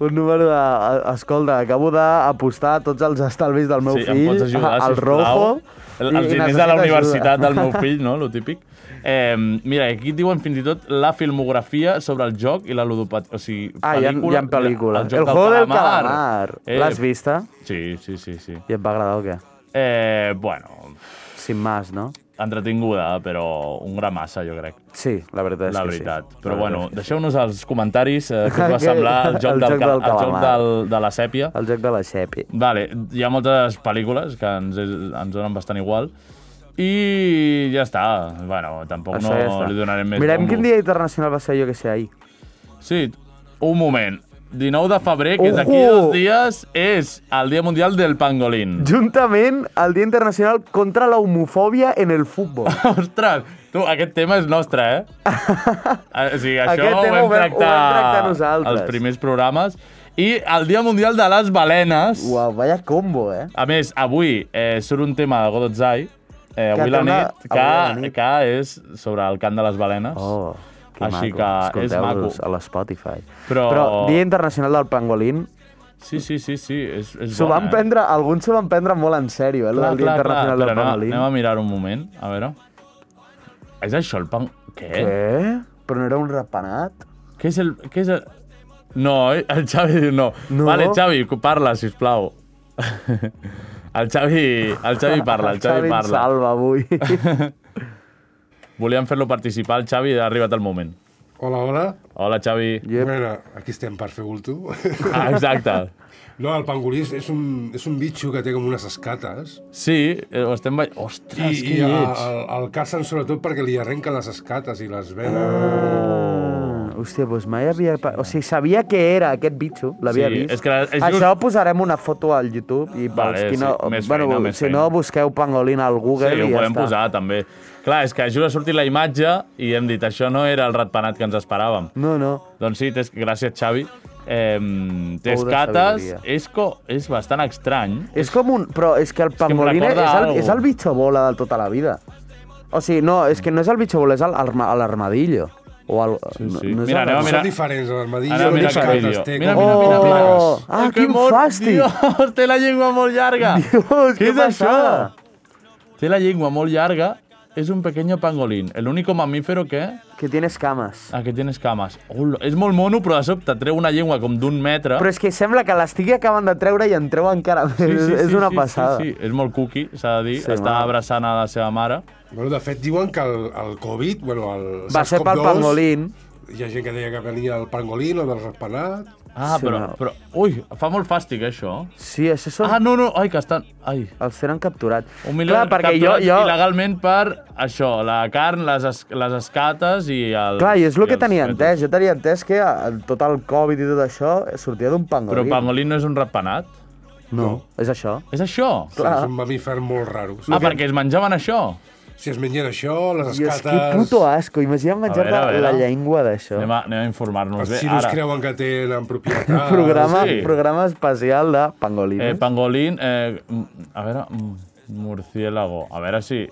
Speaker 3: Un número de... eh, Escolta, acabo d'apostar tots els estalvis del meu
Speaker 2: sí, em
Speaker 3: fill
Speaker 2: pots ajudar,
Speaker 3: al
Speaker 2: sisplau?
Speaker 3: rojo.
Speaker 2: El, els
Speaker 3: i- i
Speaker 2: diners de
Speaker 3: necessito
Speaker 2: la
Speaker 3: ajuda.
Speaker 2: universitat del meu fill, no? Lo típic. Eh, mira, aquí et diuen fins i tot la filmografia sobre el joc i la ludopatia. O sigui,
Speaker 3: Ah, hi ha, hi ha
Speaker 2: mira,
Speaker 3: pel·lícules.
Speaker 2: joc Eh,
Speaker 3: El, juego del calamar. L'has vista?
Speaker 2: Sí, sí, sí. sí.
Speaker 3: I et va agradar o què?
Speaker 2: Eh, bueno,
Speaker 3: Sin más, no?
Speaker 2: entretinguda, però un gra massa, jo crec,
Speaker 3: Sí, la veritat és
Speaker 2: la
Speaker 3: que
Speaker 2: veritat.
Speaker 3: sí.
Speaker 2: Però
Speaker 3: La
Speaker 2: bueno,
Speaker 3: veritat és
Speaker 2: deixeu-nos als comentaris eh, què us va
Speaker 3: Que-
Speaker 2: semblar el joc,
Speaker 3: el
Speaker 2: del,
Speaker 3: joc
Speaker 2: ca-
Speaker 3: del
Speaker 2: el joc
Speaker 3: calamar.
Speaker 2: del, de la sèpia.
Speaker 3: que sí. El joc de la xepi.
Speaker 2: Vale, hi ha moltes pel·lícules que ens, és, ens donen bastant igual. I ja està. Bueno, tampoc
Speaker 3: Això ja
Speaker 2: no
Speaker 3: està.
Speaker 2: li donarem més
Speaker 3: Mirem
Speaker 2: bombo.
Speaker 3: quin dia internacional va ser, jo que sé, ahir.
Speaker 2: Sí, un moment. 19 de febrer, que és d'aquí
Speaker 3: Ojo!
Speaker 2: dos dies, és el Dia Mundial del Pangolín.
Speaker 3: Juntament al Dia Internacional contra la homofòbia en el futbol.
Speaker 2: Ostres, tu, aquest tema és nostre, eh? o sigui, això
Speaker 3: Aquest
Speaker 2: ho
Speaker 3: tema
Speaker 2: vam
Speaker 3: ho vam- ho vam
Speaker 2: tractar,
Speaker 3: tractar nosaltres.
Speaker 2: als primers programes. I el Dia Mundial de les Balenes.
Speaker 3: Uau, vaya combo, eh?
Speaker 2: A més, avui eh, surt un tema de Godotzai, eh, avui,
Speaker 3: té
Speaker 2: la
Speaker 3: una-
Speaker 2: nit, que,
Speaker 3: avui a la nit.
Speaker 2: que és sobre el cant de les balenes.
Speaker 3: Oh, que
Speaker 2: Així
Speaker 3: maco.
Speaker 2: que és
Speaker 3: Escolteu-los
Speaker 2: maco.
Speaker 3: a l'Spotify.
Speaker 2: Però-
Speaker 3: Però Dia Internacional del Pangolín
Speaker 2: Sí, sí, sí, sí, és, és
Speaker 3: S'ho van
Speaker 2: bona, eh?
Speaker 3: prendre, alguns s'ho van prendre molt en sèrio, eh, el del Dia Internacional
Speaker 2: Però
Speaker 3: del
Speaker 2: anem, a-
Speaker 3: Pangolí.
Speaker 2: anem a mirar un moment, a veure. És això el pan... Què? Què,
Speaker 3: Què? Però no era un repenat?
Speaker 2: què és el... Què és el... No, eh? el Xavi diu no.
Speaker 3: No.
Speaker 2: Vale, Xavi, parla, sisplau. El Xavi, el Xavi parla, el Xavi,
Speaker 3: ens
Speaker 2: parla.
Speaker 3: salva avui.
Speaker 2: Volíem fer-lo participar, el Xavi, ha arribat el moment.
Speaker 9: Hola, hola.
Speaker 2: Hola, Xavi.
Speaker 3: Yep.
Speaker 9: Bueno, aquí estem per fer bulto.
Speaker 2: Ah, exacte.
Speaker 9: no, el pangolí és- és un, és un bitxo que té com unes escates.
Speaker 2: Sí, eh, ho estem... veient.
Speaker 3: Ah,
Speaker 9: I,
Speaker 2: Ostres,
Speaker 9: i
Speaker 2: que
Speaker 9: el,
Speaker 2: lleig.
Speaker 9: el, el cacen sobretot perquè li arrenca les escates i les venes.
Speaker 3: Ah, Hòstia, doncs mai havia... pa- O sigui, sabia que era aquest bitxo, l'havia
Speaker 2: Sí,
Speaker 3: vist.
Speaker 2: és que és just-
Speaker 3: Això posarem una foto al YouTube i pels
Speaker 2: Vale,
Speaker 3: qui no...
Speaker 2: sí, més
Speaker 3: bueno,
Speaker 2: feina, més
Speaker 3: si
Speaker 2: feina.
Speaker 3: no, busqueu pangolín al Google
Speaker 2: Sí,
Speaker 3: i
Speaker 2: ho
Speaker 3: ja
Speaker 2: podem
Speaker 3: està.
Speaker 2: posar, també. Clar, és que just ha sortit la imatge i hem dit això no era el ratpenat que ens esperàvem.
Speaker 3: No, no.
Speaker 2: Doncs sí, tens... gràcies, Xavi. Eh, té
Speaker 3: Pou de
Speaker 2: escates,
Speaker 3: sabidoria.
Speaker 2: és, co... és bastant estrany.
Speaker 3: És com un... Però és que el
Speaker 2: em
Speaker 3: pangolín és,
Speaker 2: recorda
Speaker 3: el,
Speaker 2: algo.
Speaker 3: és el bitxo bola de tota la vida. O sigui, no, és que no és el bitxo bola, és el- arma- l'armadillo. O el,
Speaker 2: Sí,
Speaker 3: no-
Speaker 2: sí.
Speaker 3: No, és
Speaker 2: Mira,
Speaker 3: el-
Speaker 2: anem a mirar-
Speaker 9: Són diferents, l'armadillo,
Speaker 2: Ara mira aquest vídeo.
Speaker 9: té
Speaker 2: Mira, mira,
Speaker 9: com
Speaker 2: mira,
Speaker 9: mil
Speaker 2: mira.
Speaker 9: plagues.
Speaker 3: Ah,
Speaker 2: Ai, que
Speaker 3: quin
Speaker 2: mort,
Speaker 3: fàstic!
Speaker 2: Dios, té la llengua molt llarga.
Speaker 3: Dios,
Speaker 2: Què
Speaker 3: què
Speaker 2: és això?
Speaker 3: passada?
Speaker 2: Té la llengua molt llarga. És un pequeño pangolín. El único mamífero que...
Speaker 3: Que tienes cames.
Speaker 2: Ah, que tiene escames. Ula, és molt mono, però de sobte treu una llengua com d'un metre.
Speaker 3: Però és que sembla que l'estigui acabant de treure i en treu encara més. és una passada.
Speaker 2: Sí, sí, és molt cuqui, s'ha de dir.
Speaker 3: Sí,
Speaker 2: Sí, Està
Speaker 3: home.
Speaker 2: abraçant a la seva mare.
Speaker 9: Bueno, de fet, diuen que el, el Covid, bueno, el
Speaker 3: Va ser pel
Speaker 9: SARS-CoV-2,
Speaker 3: pangolín.
Speaker 9: Hi ha gent que deia que venia el pangolín o del ratpenat.
Speaker 2: Ah,
Speaker 3: Sí,
Speaker 2: però,
Speaker 3: no.
Speaker 2: però... Ui, fa molt fàstic, eh, això.
Speaker 3: Sí, això són...
Speaker 2: Ah, no, no, ai, que estan... Ai,
Speaker 3: Els tenen capturat.
Speaker 2: un milió
Speaker 3: clar, perquè jo, jo...
Speaker 2: il·legalment per això, la carn, les, es, les escates i el...
Speaker 3: Clar, i és el
Speaker 2: i
Speaker 3: que
Speaker 2: els
Speaker 3: tenia
Speaker 2: fetus.
Speaker 3: entès. Jo tenia entès que eh, tot el Covid i tot això sortia d'un pangolí.
Speaker 2: Però pangolí no és un ratpenat?
Speaker 3: No. És això.
Speaker 2: És això?
Speaker 9: Clar.
Speaker 3: Clar.
Speaker 9: És un mamífer molt raro.
Speaker 2: Ah, perquè es menjaven això?
Speaker 9: Si es mengen això, les
Speaker 3: I és
Speaker 9: escates...
Speaker 3: que puto asco. Imagina menjar
Speaker 2: veure, a veure.
Speaker 3: la llengua d'això.
Speaker 2: Anem a, anem a informar-nos
Speaker 9: Els
Speaker 2: bé.
Speaker 9: xinos
Speaker 2: Ara,
Speaker 9: creuen que tenen propietats.
Speaker 3: Programa,
Speaker 2: sí.
Speaker 3: programa especial de pangolí.
Speaker 2: eh, pangolín... Eh, mm, a veure... mm, Murciélago. A veure si...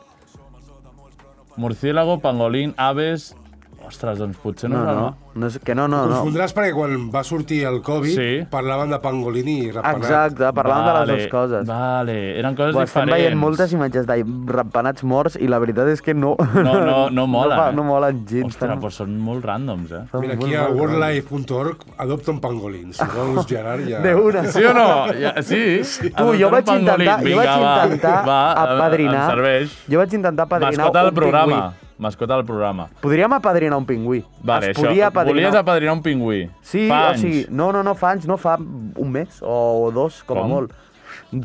Speaker 2: Murciélago, pangolín, aves... Ostres, doncs potser no,
Speaker 3: no,
Speaker 2: és
Speaker 3: no,
Speaker 2: la-
Speaker 3: no. és- Que no, no, no.
Speaker 9: Confondràs perquè quan va sortir el Covid
Speaker 2: Sí.
Speaker 9: parlaven de pangolín i ratpenat.
Speaker 3: Exacte, parlant de les
Speaker 2: Vale,
Speaker 3: dues coses.
Speaker 2: Vale, eren coses
Speaker 3: Ho estem
Speaker 2: diferents.
Speaker 3: veient moltes imatges de ratpenats morts i la veritat és que no...
Speaker 2: No, no, no molen.
Speaker 3: No, fa-
Speaker 2: eh?
Speaker 3: no molen gens.
Speaker 2: Ostres,
Speaker 3: fan-
Speaker 2: però són molt ràndoms, eh?
Speaker 3: fan
Speaker 9: Mira,
Speaker 3: molt
Speaker 9: aquí a
Speaker 3: mal.
Speaker 9: worldlife.org adopta un pangolín. Si vols, Gerard, ja...
Speaker 3: De una.
Speaker 2: Sí o no? Ja, sí.
Speaker 3: Tu, jo vaig intentar, jo vaig intentar
Speaker 2: va, va,
Speaker 3: apadrinar...
Speaker 2: Em serveix.
Speaker 3: Jo vaig intentar apadrinar
Speaker 2: Mascota del
Speaker 3: un
Speaker 2: programa.
Speaker 3: pingüí.
Speaker 2: Mascota del programa.
Speaker 3: Podríem apadrinar un pingüí.
Speaker 2: Vale,
Speaker 3: es
Speaker 2: això.
Speaker 3: podia apadrinar.
Speaker 2: Volies apadrinar un pingüí.
Speaker 3: Sí,
Speaker 2: Fa
Speaker 3: o sigui,
Speaker 2: anys.
Speaker 3: no, no, no, fa anys, no, fa un mes o, o dos,
Speaker 2: Com?
Speaker 3: com, a molt.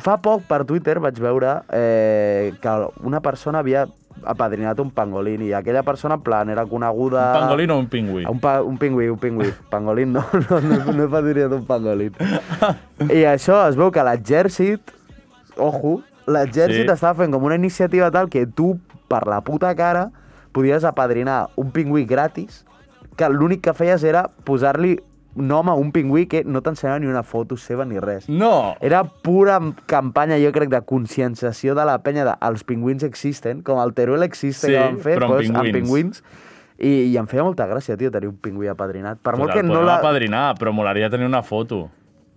Speaker 3: Fa poc per Twitter vaig veure eh, que una persona havia apadrinat un pangolín i aquella persona, en plan, era coneguda...
Speaker 2: Un pangolí o un pingüí?
Speaker 3: Un, pa, un pingüí, un pingüí. Pangolín, no, no, no, no he patinat un pangolín. I això, es veu que l'exèrcit, ojo, l'exèrcit
Speaker 2: Sí.
Speaker 3: sí. estava fent com una iniciativa tal que tu, per la puta cara, podies apadrinar un pingüí gratis, que l'únic que feies era posar-li nom a un pingüí que no t'ensenyava ni una foto seva ni res.
Speaker 2: No.
Speaker 3: Era pura campanya, jo crec, de conscienciació de la penya de els pingüins existen, com el Teruel existe,
Speaker 2: Sí,
Speaker 3: que van fer,
Speaker 2: però amb
Speaker 3: doncs, amb
Speaker 2: pingüins.
Speaker 3: pingüins. I, I em feia molta gràcia, tio, tenir un pingüí apadrinat. Per molt
Speaker 2: Pues
Speaker 3: que
Speaker 2: el
Speaker 3: no
Speaker 2: podem
Speaker 3: la...
Speaker 2: apadrinar, però molaria tenir una foto.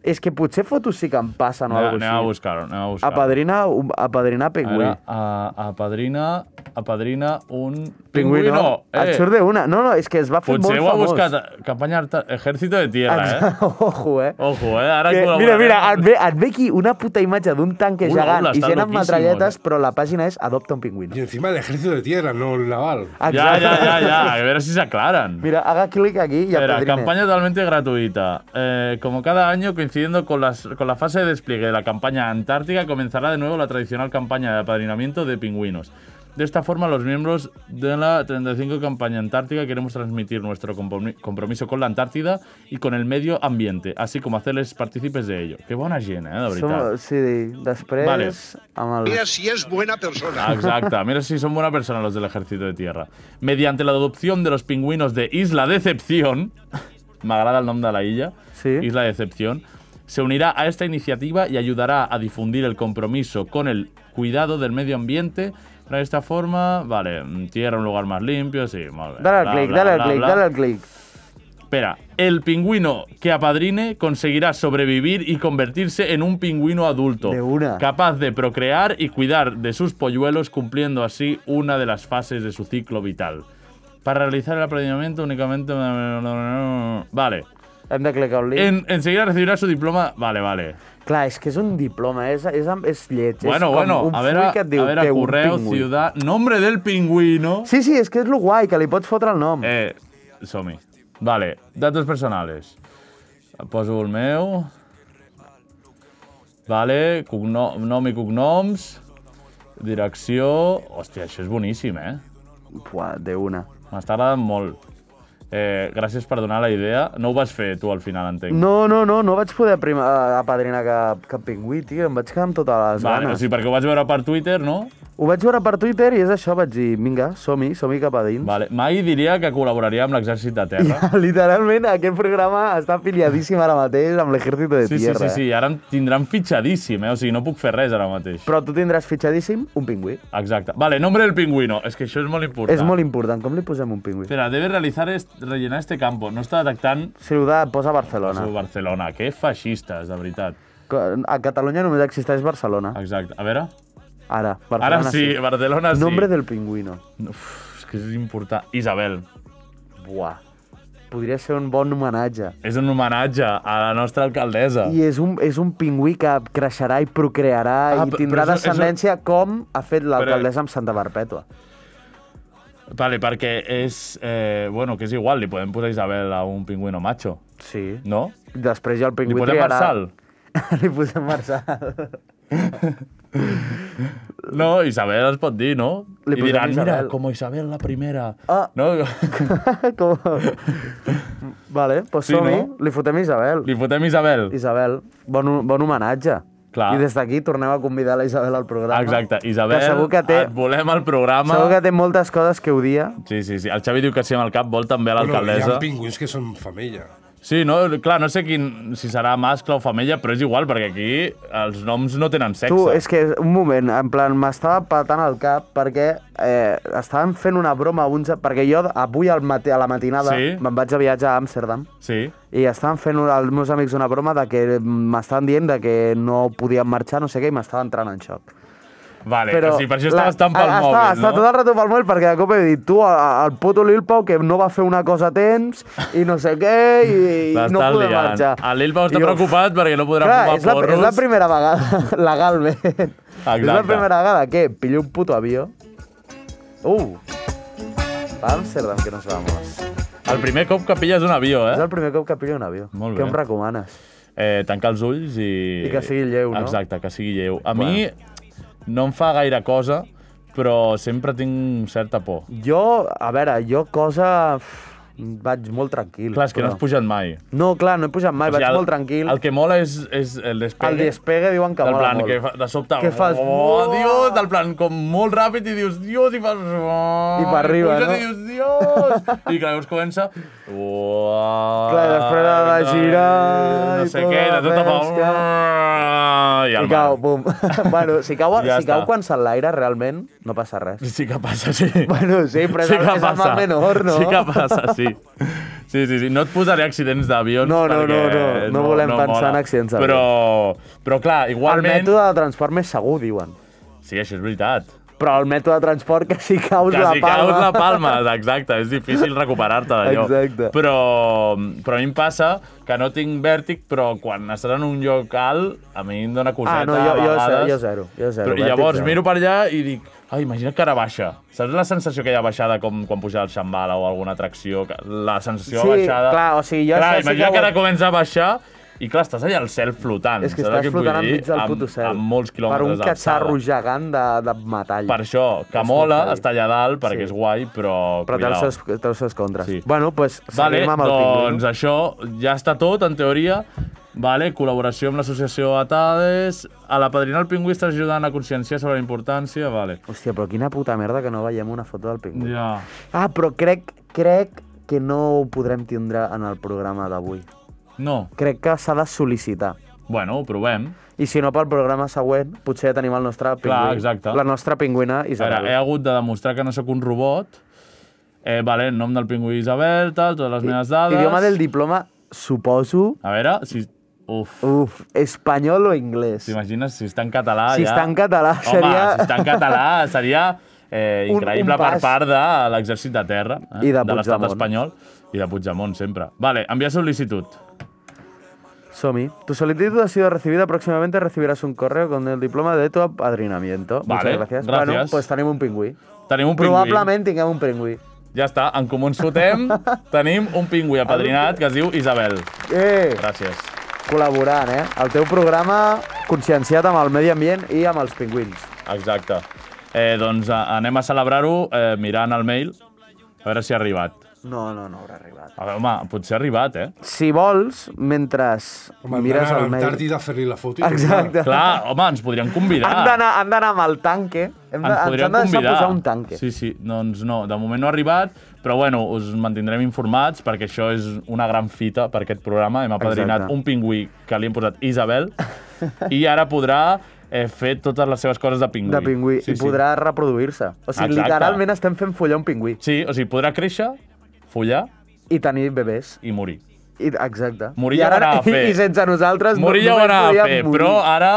Speaker 3: És que potser fotos sí que em passen o
Speaker 2: anem, anem
Speaker 3: alguna
Speaker 2: a
Speaker 3: cosa així.
Speaker 2: buscar-ho, anem a buscar-ho.
Speaker 3: Apadrinar, un- apadrinar pingüí.
Speaker 2: Ara, a, apadrina, apadrina un... Eh, pues
Speaker 3: Pingüí, no? Et surt d'una. No, no, és que es va fer
Speaker 2: Potser ho ha
Speaker 3: molt famós.
Speaker 2: buscat eh, campanya Arta- Ejército de Tierra, eh?
Speaker 3: Ojo, eh?
Speaker 2: Ojo, eh? Ara
Speaker 3: Ah, Que, mira,
Speaker 2: col·laborarem.
Speaker 3: mira, ah, et ve, et ve aquí una puta imatge d'un tanque
Speaker 2: Ula,
Speaker 3: gegant
Speaker 2: ula,
Speaker 3: i
Speaker 2: està
Speaker 3: gent amb
Speaker 2: loquísimo,
Speaker 3: metralletes,
Speaker 2: eh?
Speaker 3: però la pàgina és Adopta un pingüí.
Speaker 9: I encima l'ejército de tierra, no el naval.
Speaker 2: Ja, ja, ja, ja. A veure si s'aclaren.
Speaker 3: Mira, haga clic aquí y
Speaker 2: Espera,
Speaker 3: apadrine.
Speaker 2: campaña totalmente gratuita. Eh, como cada año, coincidiendo con, las- con la fase de despliegue de la campaña antártica, comenzará de nuevo la tradicional campaña de apadrinamiento de pingüinos. De esta forma, los miembros de la 35 Campaña Antártica queremos transmitir nuestro compromi- compromiso con la Antártida y con el medio ambiente, así como hacerles partícipes de ello. Qué buena gent, eh, de veritat.
Speaker 3: Som, sí, després...
Speaker 2: Vale.
Speaker 3: Amb el...
Speaker 4: Si és bona persona.
Speaker 2: Ah, Exacto, mira si son buena persona los del ejército de tierra. Mediante la adopción de los pingüinos de Isla Decepción, me agrada el nombre de la isla,
Speaker 3: Sí.
Speaker 2: Isla Decepción, se unirá a esta iniciativa y ayudará a difundir el compromiso con el cuidado del medio ambiente. De esta forma, vale, mm, tierra, un lugar más limpio, sí. molt bé,
Speaker 3: Dale al
Speaker 2: bla,
Speaker 3: clic,
Speaker 2: bla,
Speaker 3: dale al
Speaker 2: bla,
Speaker 3: clic,
Speaker 2: bla.
Speaker 3: dale al clic.
Speaker 2: Espera, el pingüino que apadrine conseguirá sobrevivir y convertirse en un pingüino adulto.
Speaker 3: De una.
Speaker 2: Capaz de procrear y cuidar de sus polluelos, cumpliendo así una de las fases de su ciclo vital. Para realizar el apadrinamiento únicamente. Vale.
Speaker 3: Hem de clicar un link.
Speaker 2: En- enseguida recibirá su diploma. Vale, vale.
Speaker 3: Clar, és que és un diploma, és, és, és lleig.
Speaker 2: Bueno,
Speaker 3: és com
Speaker 2: bueno,
Speaker 3: un
Speaker 2: a
Speaker 3: full
Speaker 2: ver,
Speaker 3: que
Speaker 2: a,
Speaker 3: et diu,
Speaker 2: ver, a
Speaker 3: "Té un
Speaker 2: correo,
Speaker 3: pingüí".
Speaker 2: ciudad, nombre del pingüino.
Speaker 3: Sí, sí, és que és lo guai, que li pots fotre el nom. Eh.
Speaker 2: Eh, som-hi. Vale, datos personales. Poso el meu. Vale, cogno- nom i cognoms. Direcció... Hòstia, això és boníssim, eh?
Speaker 3: Buah, de una.
Speaker 2: M'està agradant molt. Eh, gràcies per donar la idea. No ho vas fer tu al final, entenc.
Speaker 3: No, no, no, no vaig poder prima, eh, apadrinar cap, cap pingüí, tio. Em vaig quedar amb totes les
Speaker 2: Vale,
Speaker 3: ganes.
Speaker 2: o sigui, perquè ho vaig veure per Twitter, no?
Speaker 3: Ho vaig veure per Twitter i és això, vaig dir, vinga, som-hi, som-hi cap a dins.
Speaker 2: Vale. Mai diria que col·laboraria amb l'exèrcit de terra.
Speaker 3: Literalment, aquest programa està afiliadíssim ara mateix amb l'exèrcit de
Speaker 2: Sí, sí,
Speaker 3: tierra. eh.
Speaker 2: sí, sí, ara em tindran fitxadíssim, eh? O sigui, no puc fer res ara mateix.
Speaker 3: Però tu tindràs fitxadíssim un pingüí.
Speaker 2: Exacte. Vale, nombre del pingüino. És que això és molt important.
Speaker 3: És molt important. Com li posem un pingüí?
Speaker 2: Espera, debe realizar est- rellenar este campo. No està detectant
Speaker 3: Ciutat, posa Barcelona.
Speaker 2: no. Barcelona. Que feixistes, de veritat.
Speaker 3: A Catalunya només existeix Barcelona.
Speaker 2: Exacte. A veure.
Speaker 3: Ara, Ah. Barcelona
Speaker 2: Ara sí, Barcelona sí.
Speaker 3: Nombre del pingüino.
Speaker 2: Uf, és que és important. Isabel.
Speaker 3: Buah. Podria ser un bon homenatge.
Speaker 2: És un homenatge a la nostra alcaldesa.
Speaker 3: I és un, és un pingüí que creixerà i procrearà
Speaker 2: Ah,
Speaker 3: i
Speaker 2: pe-
Speaker 3: tindrà
Speaker 2: però això-
Speaker 3: descendència com ha fet l'alcaldessa amb Santa Barpètua.
Speaker 2: Vale, perquè és... Eh, bueno, que és igual, li podem posar Isabel a un pingüino macho,
Speaker 3: Sí.
Speaker 2: no?
Speaker 3: Després ja el
Speaker 2: Li
Speaker 3: pingüí
Speaker 2: posem
Speaker 3: triarà...
Speaker 2: Marçal.
Speaker 3: Li posem Marçal.
Speaker 2: No, Isabel es pot dir, no?
Speaker 3: Li
Speaker 2: I
Speaker 3: posem
Speaker 2: diran, mira,
Speaker 3: Isabel.
Speaker 2: com Isabel la primera.
Speaker 3: Ah.
Speaker 2: No?
Speaker 3: Com... Vale, doncs
Speaker 2: Sí,
Speaker 3: sí, som-hi.
Speaker 2: no?
Speaker 3: No? Li fotem Isabel.
Speaker 2: Li fotem Isabel.
Speaker 3: Isabel, bon, bon homenatge.
Speaker 2: Clar.
Speaker 3: I des d'aquí tornem a convidar la Isabel al programa.
Speaker 2: Exacte, Isabel,
Speaker 3: Que segur que té,
Speaker 2: et volem al programa.
Speaker 3: segur que té moltes coses que odia.
Speaker 2: Sí, sí, sí. El Xavi diu que sí amb el cap, vol també a
Speaker 9: hi
Speaker 2: l'alcaldessa.
Speaker 9: ha pingüins que són femella.
Speaker 2: Sí, no, clar, no sé quin, si serà mascle o femella, però és igual, perquè aquí els noms no tenen sexe.
Speaker 3: Tu, és que, un moment, en plan, m'estava patant el cap perquè eh, estaven fent una broma uns... Perquè jo avui al mati, a la matinada
Speaker 2: Sí.
Speaker 3: me'n vaig a viatge a Amsterdam
Speaker 2: Sí,
Speaker 3: i estaven fent un, els meus amics una broma de que m'estaven dient de que no podien marxar, no sé què, i m'estava entrant en xoc.
Speaker 2: vale, però, o sigui, per això estaves tan pel
Speaker 3: està,
Speaker 2: mòbil,
Speaker 3: Està
Speaker 2: no?
Speaker 3: tot el rato pel mòbil perquè de cop he dit tu, a- al puto Lil Pau, que no va fer una cosa a temps i no sé què i, i
Speaker 2: L'estàs
Speaker 3: no podem
Speaker 2: liant.
Speaker 3: marxar.
Speaker 2: El Lil Pau està
Speaker 3: I jo,
Speaker 2: preocupat perquè no podrà
Speaker 3: clar,
Speaker 2: fumar
Speaker 3: és la, és la
Speaker 2: porros.
Speaker 3: primera vegada, legalment. És la primera vegada que pillo un puto avió. Uh! A Amsterdam, que no se va molt.
Speaker 2: Eh? El primer cop que pilles un avió,
Speaker 3: És
Speaker 2: eh?
Speaker 3: el primer cop que pillo un avió.
Speaker 2: Molt
Speaker 3: Què
Speaker 2: bé.
Speaker 3: em recomanes?
Speaker 2: eh? Tancar els ulls i...
Speaker 3: I que sigui lleu, no?
Speaker 2: Exacte, que sigui lleu. A mi no em fa gaire cosa, però sempre tinc certa por.
Speaker 3: Jo, a veure, jo cosa... uf, Vaig molt tranquil.
Speaker 2: Clar, és que no
Speaker 3: però-
Speaker 2: has pujat mai.
Speaker 3: No, clar, no he pujat mai,
Speaker 2: O sigui,
Speaker 3: vaig
Speaker 2: el-
Speaker 3: molt tranquil.
Speaker 2: El que mola és, és el despegue.
Speaker 3: El despegue diuen que
Speaker 2: del
Speaker 3: mola
Speaker 2: plan,
Speaker 3: molt.
Speaker 2: que fa, de sobte...
Speaker 3: Que fas,
Speaker 2: Oh,
Speaker 3: "Uah!"
Speaker 2: Dios! Del plan, com molt ràpid i dius, Dios, i fas... Oh,
Speaker 3: I per arriba,
Speaker 2: puges
Speaker 3: no?
Speaker 2: I dius, Dios! I clar, llavors comença... Oh,
Speaker 3: Clar, i després ha de girar
Speaker 2: No
Speaker 3: i
Speaker 2: sé
Speaker 3: tot
Speaker 2: què, de tota fa...
Speaker 3: pesca.
Speaker 2: "Uah!" I
Speaker 3: I
Speaker 2: al
Speaker 3: cau,
Speaker 2: mar.
Speaker 3: bum. bueno, si cau,
Speaker 2: Ja
Speaker 3: si cau
Speaker 2: està.
Speaker 3: quan s'enlaira, realment, no passa res.
Speaker 2: Sí que passa, sí.
Speaker 3: Bueno, sí, però és el- és el mar menor, no?
Speaker 2: Sí que passa, sí. Sí, sí, sí. No et posaré accidents d'avions
Speaker 3: No, no,
Speaker 2: perquè
Speaker 3: no, no. No volem pensar en accidents d'avions.
Speaker 2: Però, però clar,
Speaker 3: El
Speaker 2: igualment...
Speaker 3: mètode de transport més segur, diuen.
Speaker 2: Sí, això és veritat.
Speaker 3: Però el mètode de transport que si caus
Speaker 2: Quasi
Speaker 3: la palma...
Speaker 2: caus la palma, exacte, és difícil recuperar-te d'allò.
Speaker 3: Exacte.
Speaker 2: Però, però a mi em passa que no tinc vèrtic, però quan estàs en un lloc alt, a mi em dóna coseta
Speaker 3: Ah, no, jo,
Speaker 2: a
Speaker 3: jo,
Speaker 2: vegades.
Speaker 3: zero, jo zero. Jo zero
Speaker 2: Però, I
Speaker 3: vèrtic
Speaker 2: llavors
Speaker 3: zero.
Speaker 2: miro per allà i dic, ai, imagina't que ara baixa. Saps la sensació que hi ha baixada com quan puja el Shambhala o alguna atracció? que- La sensació
Speaker 3: Sí,
Speaker 2: de baixada...
Speaker 3: clar, o sigui, jo
Speaker 2: clar,
Speaker 3: això sí que
Speaker 2: imagina't
Speaker 3: ho-
Speaker 2: que, ara comença a baixar i clar, estàs allà al cel flotant.
Speaker 3: És que
Speaker 2: saps el
Speaker 3: estàs
Speaker 2: vull
Speaker 3: flotant
Speaker 2: dir?
Speaker 3: enmig del puto cel.
Speaker 2: Amb, amb molts
Speaker 3: Per
Speaker 2: quilòmetres
Speaker 3: un catxarro
Speaker 2: d'alçada.
Speaker 3: gegant de, de metall.
Speaker 2: Per això, que
Speaker 3: És
Speaker 2: mola
Speaker 3: molt
Speaker 2: estar allà dalt, perquè
Speaker 3: eh, Sí.
Speaker 2: és guai, però...
Speaker 3: Però té els
Speaker 2: cuidao.
Speaker 3: seus, té els seus contres.
Speaker 2: Sí.
Speaker 3: Bueno, doncs pues,
Speaker 2: Vale,
Speaker 3: seguim amb el
Speaker 2: doncs
Speaker 3: pingüí.
Speaker 2: això ja està tot, en teoria. Vale, col·laboració amb l'associació Atades. A la padrina el pingüí estàs ajudant a conscienciar sobre la importància, vale.
Speaker 3: Hòstia, però quina puta merda que no veiem una foto del pingüí.
Speaker 2: Ja.
Speaker 3: Ah, però crec, crec que no ho podrem tindre en el programa d'avui.
Speaker 2: No.
Speaker 3: Crec que s'ha de sol·licitar.
Speaker 2: Bueno, ho provem.
Speaker 3: I si no, pel programa següent, potser ja tenim el nostre pingüí.
Speaker 2: exacte.
Speaker 3: La nostra pingüina
Speaker 2: A veure, eh,
Speaker 3: Isabel.
Speaker 2: he hagut de demostrar que no sóc un robot. Eh, vale, nom del pingüí Isabel, tal, totes les meves dades...
Speaker 3: Idioma del diploma, suposo...
Speaker 2: A veure, si... Uf,
Speaker 3: Uf, espanyol o anglès?
Speaker 2: t'imagines si està en català
Speaker 3: Si
Speaker 2: ja...
Speaker 3: està en català
Speaker 2: Home,
Speaker 3: seria-
Speaker 2: si està en català seria eh,
Speaker 3: Un-
Speaker 2: increïble
Speaker 3: un
Speaker 2: per
Speaker 3: pas.
Speaker 2: part de l'exèrcit de terra. Eh,
Speaker 3: I de
Speaker 2: De l'estat
Speaker 3: Puigdemont.
Speaker 2: espanyol. I de Puigdemont, sempre. Vale, enviar sol·licitud.
Speaker 3: Somi, tu solicitud ha sido recibida. Próximamente recibirás un correo con el diploma de tu apadrinamiento.
Speaker 2: Vale,
Speaker 3: Muchas gracias.
Speaker 2: gracias.
Speaker 3: Bueno, pues tenim un pingüí.
Speaker 2: Tenim un pingüí.
Speaker 3: Probablement tinguem un pingüí.
Speaker 2: Ja està, en comú ens fotem. Tenim un pingüí apadrinat que es diu Isabel.
Speaker 3: Eh,
Speaker 2: Gràcies.
Speaker 3: col·laborant, eh? El teu programa conscienciat amb el medi ambient i amb els pingüins.
Speaker 2: Exacte. Eh, doncs eh, anem a celebrar-ho eh, mirant el mail, a veure si ha arribat.
Speaker 3: No, no, no haurà arribat.
Speaker 2: A veure, home, potser ha arribat, eh?
Speaker 3: Si vols, mentre
Speaker 9: Home,
Speaker 3: mires
Speaker 9: a
Speaker 3: el mail...
Speaker 9: l'Antàrtida a fer-li la foto. i
Speaker 3: Exacte.
Speaker 2: Clar, home, ens podrien convidar.
Speaker 3: Han d'anar han d'anar amb el tanque. Hem de,
Speaker 2: Ens
Speaker 3: ens
Speaker 2: podrien
Speaker 3: han de deixar
Speaker 2: convidar.
Speaker 3: posar un tanque.
Speaker 2: Sí, sí, doncs no, de moment no ha arribat, però bueno, us mantindrem informats perquè això és una gran fita per aquest programa. Hem apadrinat
Speaker 3: Exacte.
Speaker 2: un pingüí que li hem posat Isabel i ara podrà eh, fer totes les seves coses de pingüí.
Speaker 3: de pingüí i podrà reproduir-se. O sigui,
Speaker 2: Exacte.
Speaker 3: literalment estem fent follar un pingüí
Speaker 2: Sí, o sigui, podrà créixer, follar
Speaker 3: i tenir bebès.
Speaker 2: i morir.
Speaker 3: I, exacte.
Speaker 2: Morir
Speaker 3: I
Speaker 2: ja ho
Speaker 3: ara,
Speaker 2: anava a fer.
Speaker 3: I sense nosaltres no-
Speaker 2: Morir ja ho
Speaker 3: només
Speaker 2: anava a
Speaker 3: podíem
Speaker 2: fer,
Speaker 3: morir.
Speaker 2: però ara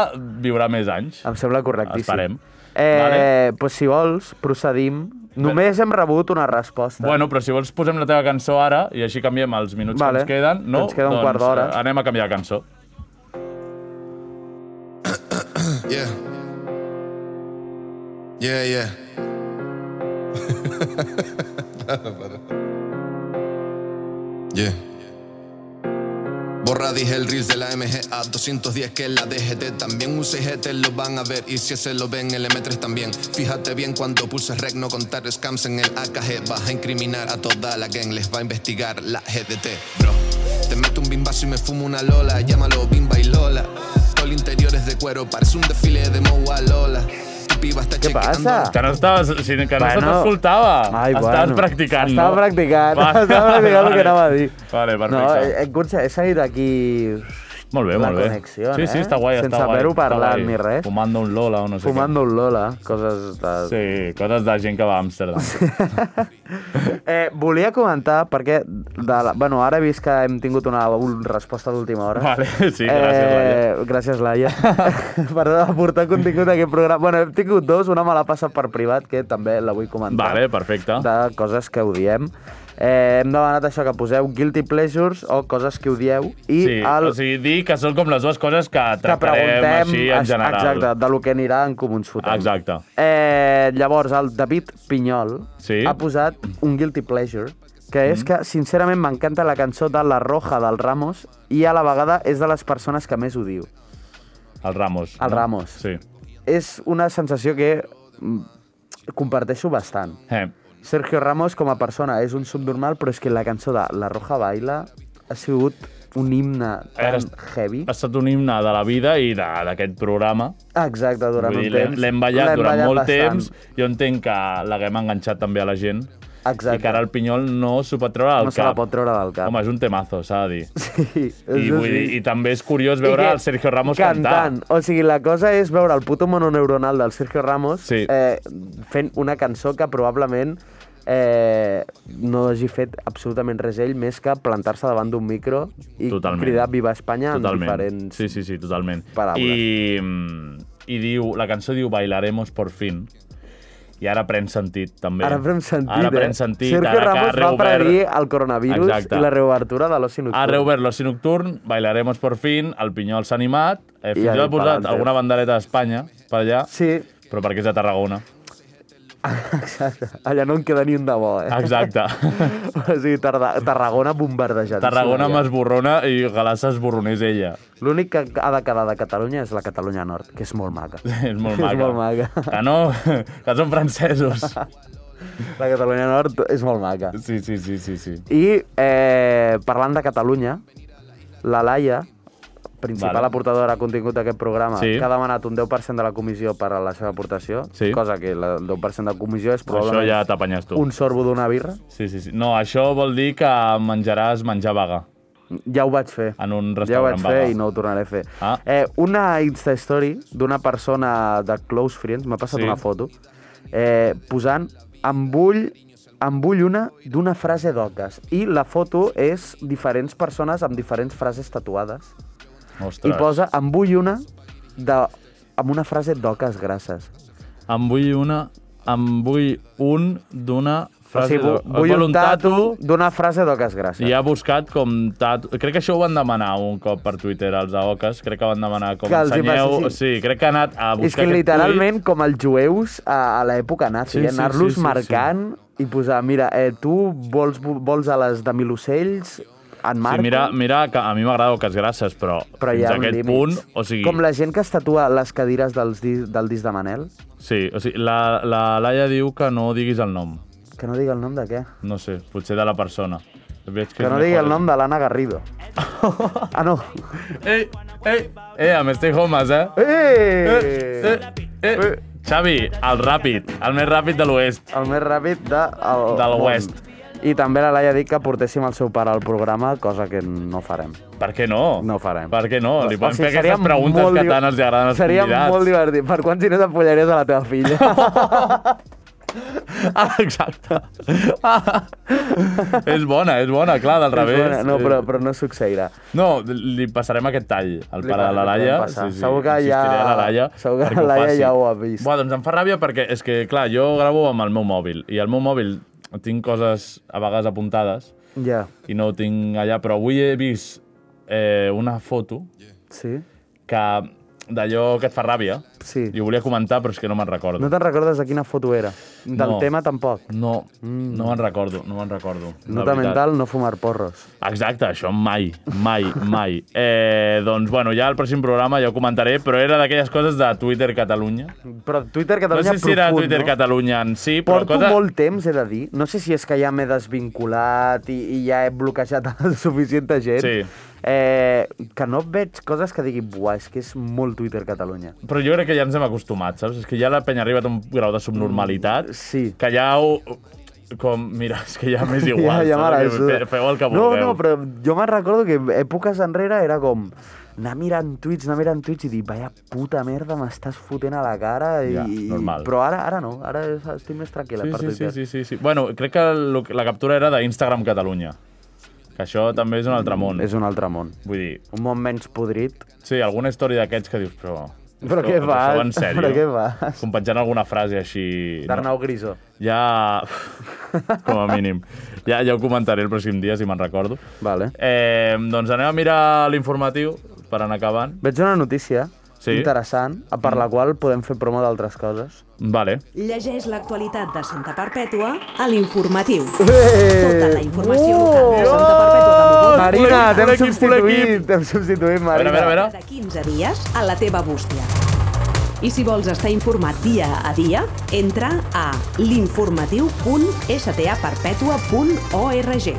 Speaker 2: viurà més anys.
Speaker 3: Em sembla correctíssim.
Speaker 2: Esperem.
Speaker 3: Eh,
Speaker 2: Vale.
Speaker 3: vale. pues, si vols, procedim. Només hem rebut una resposta.
Speaker 2: Bueno, però si vols posem la teva cançó ara i així canviem els minuts que
Speaker 3: Vale.
Speaker 2: ens queden. No?
Speaker 3: Ens queda un
Speaker 2: doncs,
Speaker 3: quart d'hora.
Speaker 2: eh, Anem a canviar de cançó.
Speaker 7: Yeah. Yeah, yeah. Para, para. Yeah. Borra dije el reel de la MGA 210 que la DGT también un 6GT lo van a ver y si ese lo ven el M3 también Fíjate bien cuando pulses rec no contar scams en el AKG Vas a incriminar a toda la gang, les va a investigar la GDT Bro, te meto un bimbazo y me fumo una lola, llámalo bimba y lola Todo el interior es de cuero, parece un desfile de Moa Lola Tu piba está
Speaker 3: ¿Qué
Speaker 7: chequeando
Speaker 3: pasa?
Speaker 7: los
Speaker 2: Que no estaves... o sigui, Que no
Speaker 3: Bueno.
Speaker 2: se t'escoltava.
Speaker 3: Ai,
Speaker 2: Estaves
Speaker 3: bueno.
Speaker 2: practicant,
Speaker 3: Estava
Speaker 2: no?
Speaker 3: practicant, estava practicant el que anava a dir.
Speaker 2: Vale,
Speaker 3: no,
Speaker 2: perfecte.
Speaker 3: he, he, conse- he seguit aquí
Speaker 2: molt bé,
Speaker 3: la
Speaker 2: molt bé.
Speaker 3: connexió,
Speaker 2: sí,
Speaker 3: eh?
Speaker 2: sí, està guai,
Speaker 3: Sense
Speaker 2: està guai.
Speaker 3: haver-ho
Speaker 2: està
Speaker 3: parlat
Speaker 2: guai.
Speaker 3: ni res.
Speaker 2: Fumando un Lola o no sé
Speaker 3: fumant un Lola, coses de...
Speaker 2: què. Sí, coses de gent que va a Amsterdam.
Speaker 3: Eh, volia comentar, perquè de la, bueno, ara he vist que hem tingut una, una resposta d'última hora. Eh,
Speaker 2: Vale, sí, gràcies, Laia.
Speaker 3: Gràcies, Laia. Perdó de portar contingut a aquest programa. Bueno, hem tingut dos, una me l'ha passat per privat, que també la vull comentar.
Speaker 2: vale, perfecte.
Speaker 3: De coses que odiem. Eh, hem demanat això, que poseu guilty pleasures o coses que odieu. I
Speaker 2: Sí,
Speaker 3: el,
Speaker 2: o sigui, dir que són com les dues coses que
Speaker 3: que
Speaker 2: tractarem
Speaker 3: preguntem,
Speaker 2: així en
Speaker 3: es-
Speaker 2: general.
Speaker 3: exacte, de lo que anirà en Comú ens fotem.
Speaker 2: Exacte.
Speaker 3: Eh, llavors, el David Pinyol
Speaker 2: Sí. Mm.
Speaker 3: ha posat un guilty pleasure, que és que, sincerament, m'encanta la cançó de La Roja del Ramos i a la vegada és de les persones que més odio.
Speaker 2: El Ramos.
Speaker 3: El Ramos.
Speaker 2: Ah, Sí.
Speaker 3: És una sensació que mm, comparteixo bastant.
Speaker 2: Eh,
Speaker 3: Sergio Ramos, com a persona, és un subnormal, però és que la cançó de La Roja Baila ha sigut un himne
Speaker 2: Era-
Speaker 3: tan heavy.
Speaker 2: ha estat un himne de la vida i de- d'aquest programa.
Speaker 3: Exacte, durant
Speaker 2: Vull dir,
Speaker 3: un
Speaker 2: l'hem-
Speaker 3: temps.
Speaker 2: L'hem ballat
Speaker 3: L'hem
Speaker 2: durant molt
Speaker 3: bastant.
Speaker 2: temps. Jo entenc que l'haguem enganxat també a la gent.
Speaker 3: Exacte.
Speaker 2: I que ara el Pinyol no s'ho pot treure del
Speaker 3: no
Speaker 2: cap.
Speaker 3: se la pot treure del cap.
Speaker 2: Home, és un temazo, s'ha de dir.
Speaker 3: sí,
Speaker 2: I, vull dir. I també és curiós veure
Speaker 3: que-
Speaker 2: el Sergio Ramos
Speaker 3: cantant.
Speaker 2: cantar.
Speaker 3: O sigui, la cosa és veure el puto mononeuronal del Sergio Ramos
Speaker 2: Sí.
Speaker 3: eh, fent una cançó que probablement eh, no hagi fet absolutament res ell més que plantar-se davant d'un micro i
Speaker 2: Totalment.
Speaker 3: cridar Viva Espanya
Speaker 2: Totalment.
Speaker 3: en diferents...
Speaker 2: Sí, sí, sí, totalment.
Speaker 3: paraules.
Speaker 2: I, mm, I diu, la cançó diu Bailaremos por fin. I ara pren sentit, també.
Speaker 3: Ara prem sentit,
Speaker 2: Ara
Speaker 3: eh?
Speaker 2: pren sentit.
Speaker 3: Sergio
Speaker 2: ara que ha
Speaker 3: Ramos va
Speaker 2: reobert-
Speaker 3: predir el coronavirus
Speaker 2: Exacte.
Speaker 3: i la reobertura de l'oci nocturn.
Speaker 2: Ha reobert l'oci nocturn, bailaremos por fin, el Pinyol s'ha animat, eh, fins i
Speaker 3: anem
Speaker 2: tot ha posat
Speaker 3: pa'lante.
Speaker 2: alguna bandereta d'Espanya per allà,
Speaker 3: Sí,
Speaker 2: però perquè és de Tarragona.
Speaker 3: exacte. Allà no en queda ni un de bo, eh?
Speaker 2: Exacte.
Speaker 3: o sigui, Tarda- Tarragona bombardejadíssima.
Speaker 2: Tarragona
Speaker 3: ja.
Speaker 2: m'esborrona i Galassa esborronés ella.
Speaker 3: L'únic que ha de quedar de Catalunya és la Catalunya Nord, que és molt maca.
Speaker 2: És molt maca.
Speaker 3: És molt maca.
Speaker 2: Que no, que són francesos.
Speaker 3: La Catalunya Nord és molt maca.
Speaker 2: Sí, sí, sí, sí. sí.
Speaker 3: I eh, parlant de Catalunya, la Laia, principal
Speaker 2: Vale.
Speaker 3: vale. aportadora de contingut d'aquest programa,
Speaker 2: Sí.
Speaker 3: sí. que ha demanat un 10% de la comissió per a la seva aportació,
Speaker 2: Sí.
Speaker 3: cosa que la- el 10% de comissió és
Speaker 2: Això
Speaker 3: probablement
Speaker 2: ja t'apanyes tu.
Speaker 3: un sorbo d'una birra.
Speaker 2: Sí, sí, sí. No, això vol dir que menjaràs menjar vaga.
Speaker 3: Ja ho vaig fer.
Speaker 2: En un
Speaker 3: ja ho
Speaker 2: restaurant
Speaker 3: vaig fer
Speaker 2: vegà.
Speaker 3: i no ho tornaré a fer.
Speaker 2: Ah.
Speaker 3: Eh, una Insta Story d'una persona de Close Friends, m'ha passat
Speaker 2: Sí.
Speaker 3: una foto, eh, posant amb ull en vull una d'una frase d'oques. I la foto és diferents persones amb diferents frases tatuades.
Speaker 2: Ostres.
Speaker 3: I posa en vull una de, amb una frase d'oques grasses.
Speaker 2: Em vull una... Em vull un d'una
Speaker 3: O
Speaker 2: frase...
Speaker 3: sigui, vu-
Speaker 2: de-
Speaker 3: vull
Speaker 2: vol
Speaker 3: un tatu d'una frase d'oques grasses.
Speaker 2: I ha buscat com tatu... Crec que això ho van demanar un cop per Twitter, els aoques. Crec que van demanar com
Speaker 3: Que els hi
Speaker 2: ensenyeu...
Speaker 3: passi,
Speaker 2: sí. crec que ha anat a buscar
Speaker 3: És que
Speaker 2: aquest
Speaker 3: literalment, com els jueus a, a l'època nazi,
Speaker 2: Sí,
Speaker 3: sí,
Speaker 2: sí,
Speaker 3: anar-los
Speaker 2: sí, sí,
Speaker 3: marcant i posar, mira, eh, tu vols, vols a les de mil ocells, en
Speaker 2: tuit.
Speaker 3: Marco...
Speaker 2: Sí, mira, mira, que a mi m'agrada Oques Grasses, però,
Speaker 3: però hi
Speaker 2: fins
Speaker 3: ha
Speaker 2: a
Speaker 3: un
Speaker 2: aquest
Speaker 3: límit.
Speaker 2: punt... O sigui,
Speaker 3: Com la gent que es tatua les cadires dels dis, del disc de Manel,
Speaker 2: Sí, o sigui, la, la Laia diu que no diguis el nom.
Speaker 3: que no digui el nom de què?
Speaker 2: No sé, potser de la persona. Veig que
Speaker 3: Que
Speaker 2: és
Speaker 3: no
Speaker 2: mejor
Speaker 3: digui el
Speaker 2: el-
Speaker 3: nom de l'Anna Garrido. Ah, no.
Speaker 2: Ei, ei, eh, amb Stay Homes, eh?
Speaker 3: Eh!
Speaker 2: eh, eh. Xavi, el ràpid, el més ràpid de l'oest.
Speaker 3: El més ràpid de, el,
Speaker 2: Del
Speaker 3: món.
Speaker 2: West.
Speaker 3: I també la Laia ha dit que portéssim el seu pare al programa, cosa que no farem.
Speaker 2: Per què no?
Speaker 3: No ho farem.
Speaker 2: Per què no? Li
Speaker 3: O
Speaker 2: podem
Speaker 3: sigui,
Speaker 2: fer
Speaker 3: seria
Speaker 2: aquestes preguntes
Speaker 3: molt
Speaker 2: que
Speaker 3: div-
Speaker 2: tant els agraden als
Speaker 3: seria
Speaker 2: convidats.
Speaker 3: molt divertit. Per quants diners apollaries a la teva filla?
Speaker 2: Ah, exacte. Ah. és bona, és bona, clar, del revés.
Speaker 3: Bueno, no, però, però no succeirà.
Speaker 2: No, li passarem aquest tall al
Speaker 3: Li
Speaker 2: pare de la
Speaker 3: podem
Speaker 2: Laia.
Speaker 3: passar. Segur que
Speaker 2: insistiré
Speaker 3: ja-
Speaker 2: a la Laia
Speaker 3: segur que
Speaker 2: perquè
Speaker 3: la Laia
Speaker 2: faci.
Speaker 3: ja ho ha vist.
Speaker 2: Buah, doncs em fa ràbia perquè és que, clar, jo gravo amb el meu mòbil i al meu mòbil tinc coses a vegades apuntades
Speaker 3: Ja,
Speaker 2: i no ho tinc allà, però avui he vist eh, una foto
Speaker 3: sí.
Speaker 2: que d'allò que et fa ràbia
Speaker 3: Sí.
Speaker 2: i ho volia comentar, però és que no me'n recordo.
Speaker 3: No te'n recordes de quina foto era? Del
Speaker 2: No.
Speaker 3: tema tampoc.
Speaker 2: No, no me'n recordo, no me'n recordo. la
Speaker 3: Nota
Speaker 2: veritat.
Speaker 3: mental, Mm. no fumar porros.
Speaker 2: Exacte, això mai, mai, mai. Eh, doncs, bueno, ja al pròxim programa ja ho comentaré, però era d'aquelles coses de Twitter Catalunya.
Speaker 3: Però Twitter
Speaker 2: No
Speaker 3: Catalunya
Speaker 2: sé si era
Speaker 3: profund,
Speaker 2: Twitter
Speaker 3: no?
Speaker 2: Catalunya en si, però
Speaker 3: Porto
Speaker 2: cosa...
Speaker 3: molt temps, he de dir. No sé si és que ja m'he desvinculat i, i ja he bloquejat a suficienta gent.
Speaker 2: Sí.
Speaker 3: Eh, que no veig coses que digui, buah, és que és molt Twitter Catalunya.
Speaker 2: Però jo crec que ja ens hem acostumat, saps? És que ja la penya ha arribat a un grau de subnormalitat
Speaker 3: Mm, sí.
Speaker 2: que ja ho... Com, mira, és que ja m'és igual,
Speaker 3: ja, ja me la
Speaker 2: saps?
Speaker 3: suda.
Speaker 2: Fe- Feu el que
Speaker 3: no,
Speaker 2: vulgueu.
Speaker 3: No, però jo me'n recordo que èpoques enrere era com anar mirant tuits, anar mirant tuits i dir, vaya puta merda, m'estàs fotent a la cara. I,
Speaker 2: Ja, normal.
Speaker 3: Però ara ara no, ara estic més tranquil·la per
Speaker 2: Sí, sí,
Speaker 3: Twitter.
Speaker 2: sí, sí, sí, sí. Bueno, crec que el, la captura era d'Instagram Catalunya. Que això també és un altre món.
Speaker 3: Mm, És un altre món.
Speaker 2: Vull dir,
Speaker 3: Un món menys podrit.
Speaker 2: sí, alguna història d'aquests que dius, però...
Speaker 3: Però
Speaker 2: això-
Speaker 3: què
Speaker 2: Això
Speaker 3: fas?
Speaker 2: va en sèrio.
Speaker 3: Però què fas?
Speaker 2: Com penjant alguna frase així... no?
Speaker 3: D'Arnau Grisó.
Speaker 2: Ja... Com a mínim. Ja, ja ho comentaré el pròxim dia, si me'n recordo.
Speaker 3: Vale.
Speaker 2: Eh, doncs anem a mirar l'informatiu per anar acabant.
Speaker 3: Veig una notícia
Speaker 2: Sí. Mm.
Speaker 3: interessant per la qual podem fer promo d'altres coses.
Speaker 2: Vale.
Speaker 10: Llegeix l'actualitat de Santa Perpètua a l'informatiu.
Speaker 3: Tota
Speaker 10: Tota la informació local de Santa Perpètua de Mogoda
Speaker 2: Ah,
Speaker 3: Marina,
Speaker 2: Volem,
Speaker 3: t'hem
Speaker 2: volem equip,
Speaker 3: substituït, t'hem substituït,
Speaker 2: A veure,
Speaker 3: Marina.
Speaker 2: a veure, a veure.
Speaker 10: de 15 dies a la teva bústia. I si vols estar informat dia a dia, entra a l'informatiu.staperpetua.org.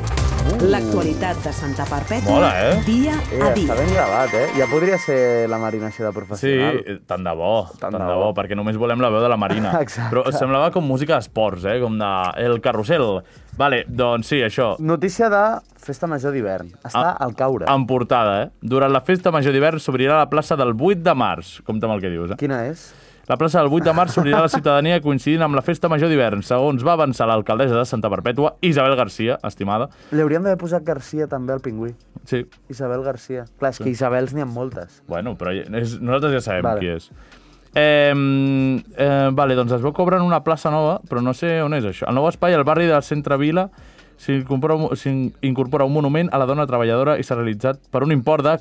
Speaker 10: L'actualitat de Santa Perpètua
Speaker 2: Mola, eh?
Speaker 10: dia a
Speaker 3: Eh,
Speaker 10: dia.
Speaker 3: està ben gravat, eh? Ja podria ser la Marina així de
Speaker 2: Sí,
Speaker 3: professional.
Speaker 2: eh, tant de bo, tant,
Speaker 3: de
Speaker 2: de
Speaker 3: bo.
Speaker 2: bo, perquè només volem la veu de la Marina.
Speaker 3: Exacte.
Speaker 2: Però semblava com música d'esports, eh? Com de... El carrusel. Vale, doncs sí, això.
Speaker 3: Notícia de Festa Major d'hivern.
Speaker 2: Ah,
Speaker 3: Està al caure.
Speaker 2: En portada, eh? Durant la festa major d'hivern s'obrirà la plaça del 8 de març. Compte amb el que dius, eh?
Speaker 3: Quina és?
Speaker 2: La plaça del 8 de març s'obrirà a la ciutadania coincidint amb la festa major d'hivern, segons va avançar l'alcaldessa de Santa Perpètua, Isabel Garcia, estimada.
Speaker 3: Li hauríem d'haver posat Garcia també al pingüí.
Speaker 2: Sí,
Speaker 3: Isabel Garcia. Clar, és que Isabels n'hi ha moltes.
Speaker 2: bueno, però és, nosaltres ja sabem
Speaker 3: Vale.
Speaker 2: vale. qui és. Eh, eh, vale, doncs es veu cobrar una plaça nova, però no sé on és això. El nou espai, al barri del centre Vila, s'incorpora un- s'incorpora un monument a la dona treballadora i s'ha realitzat per un import de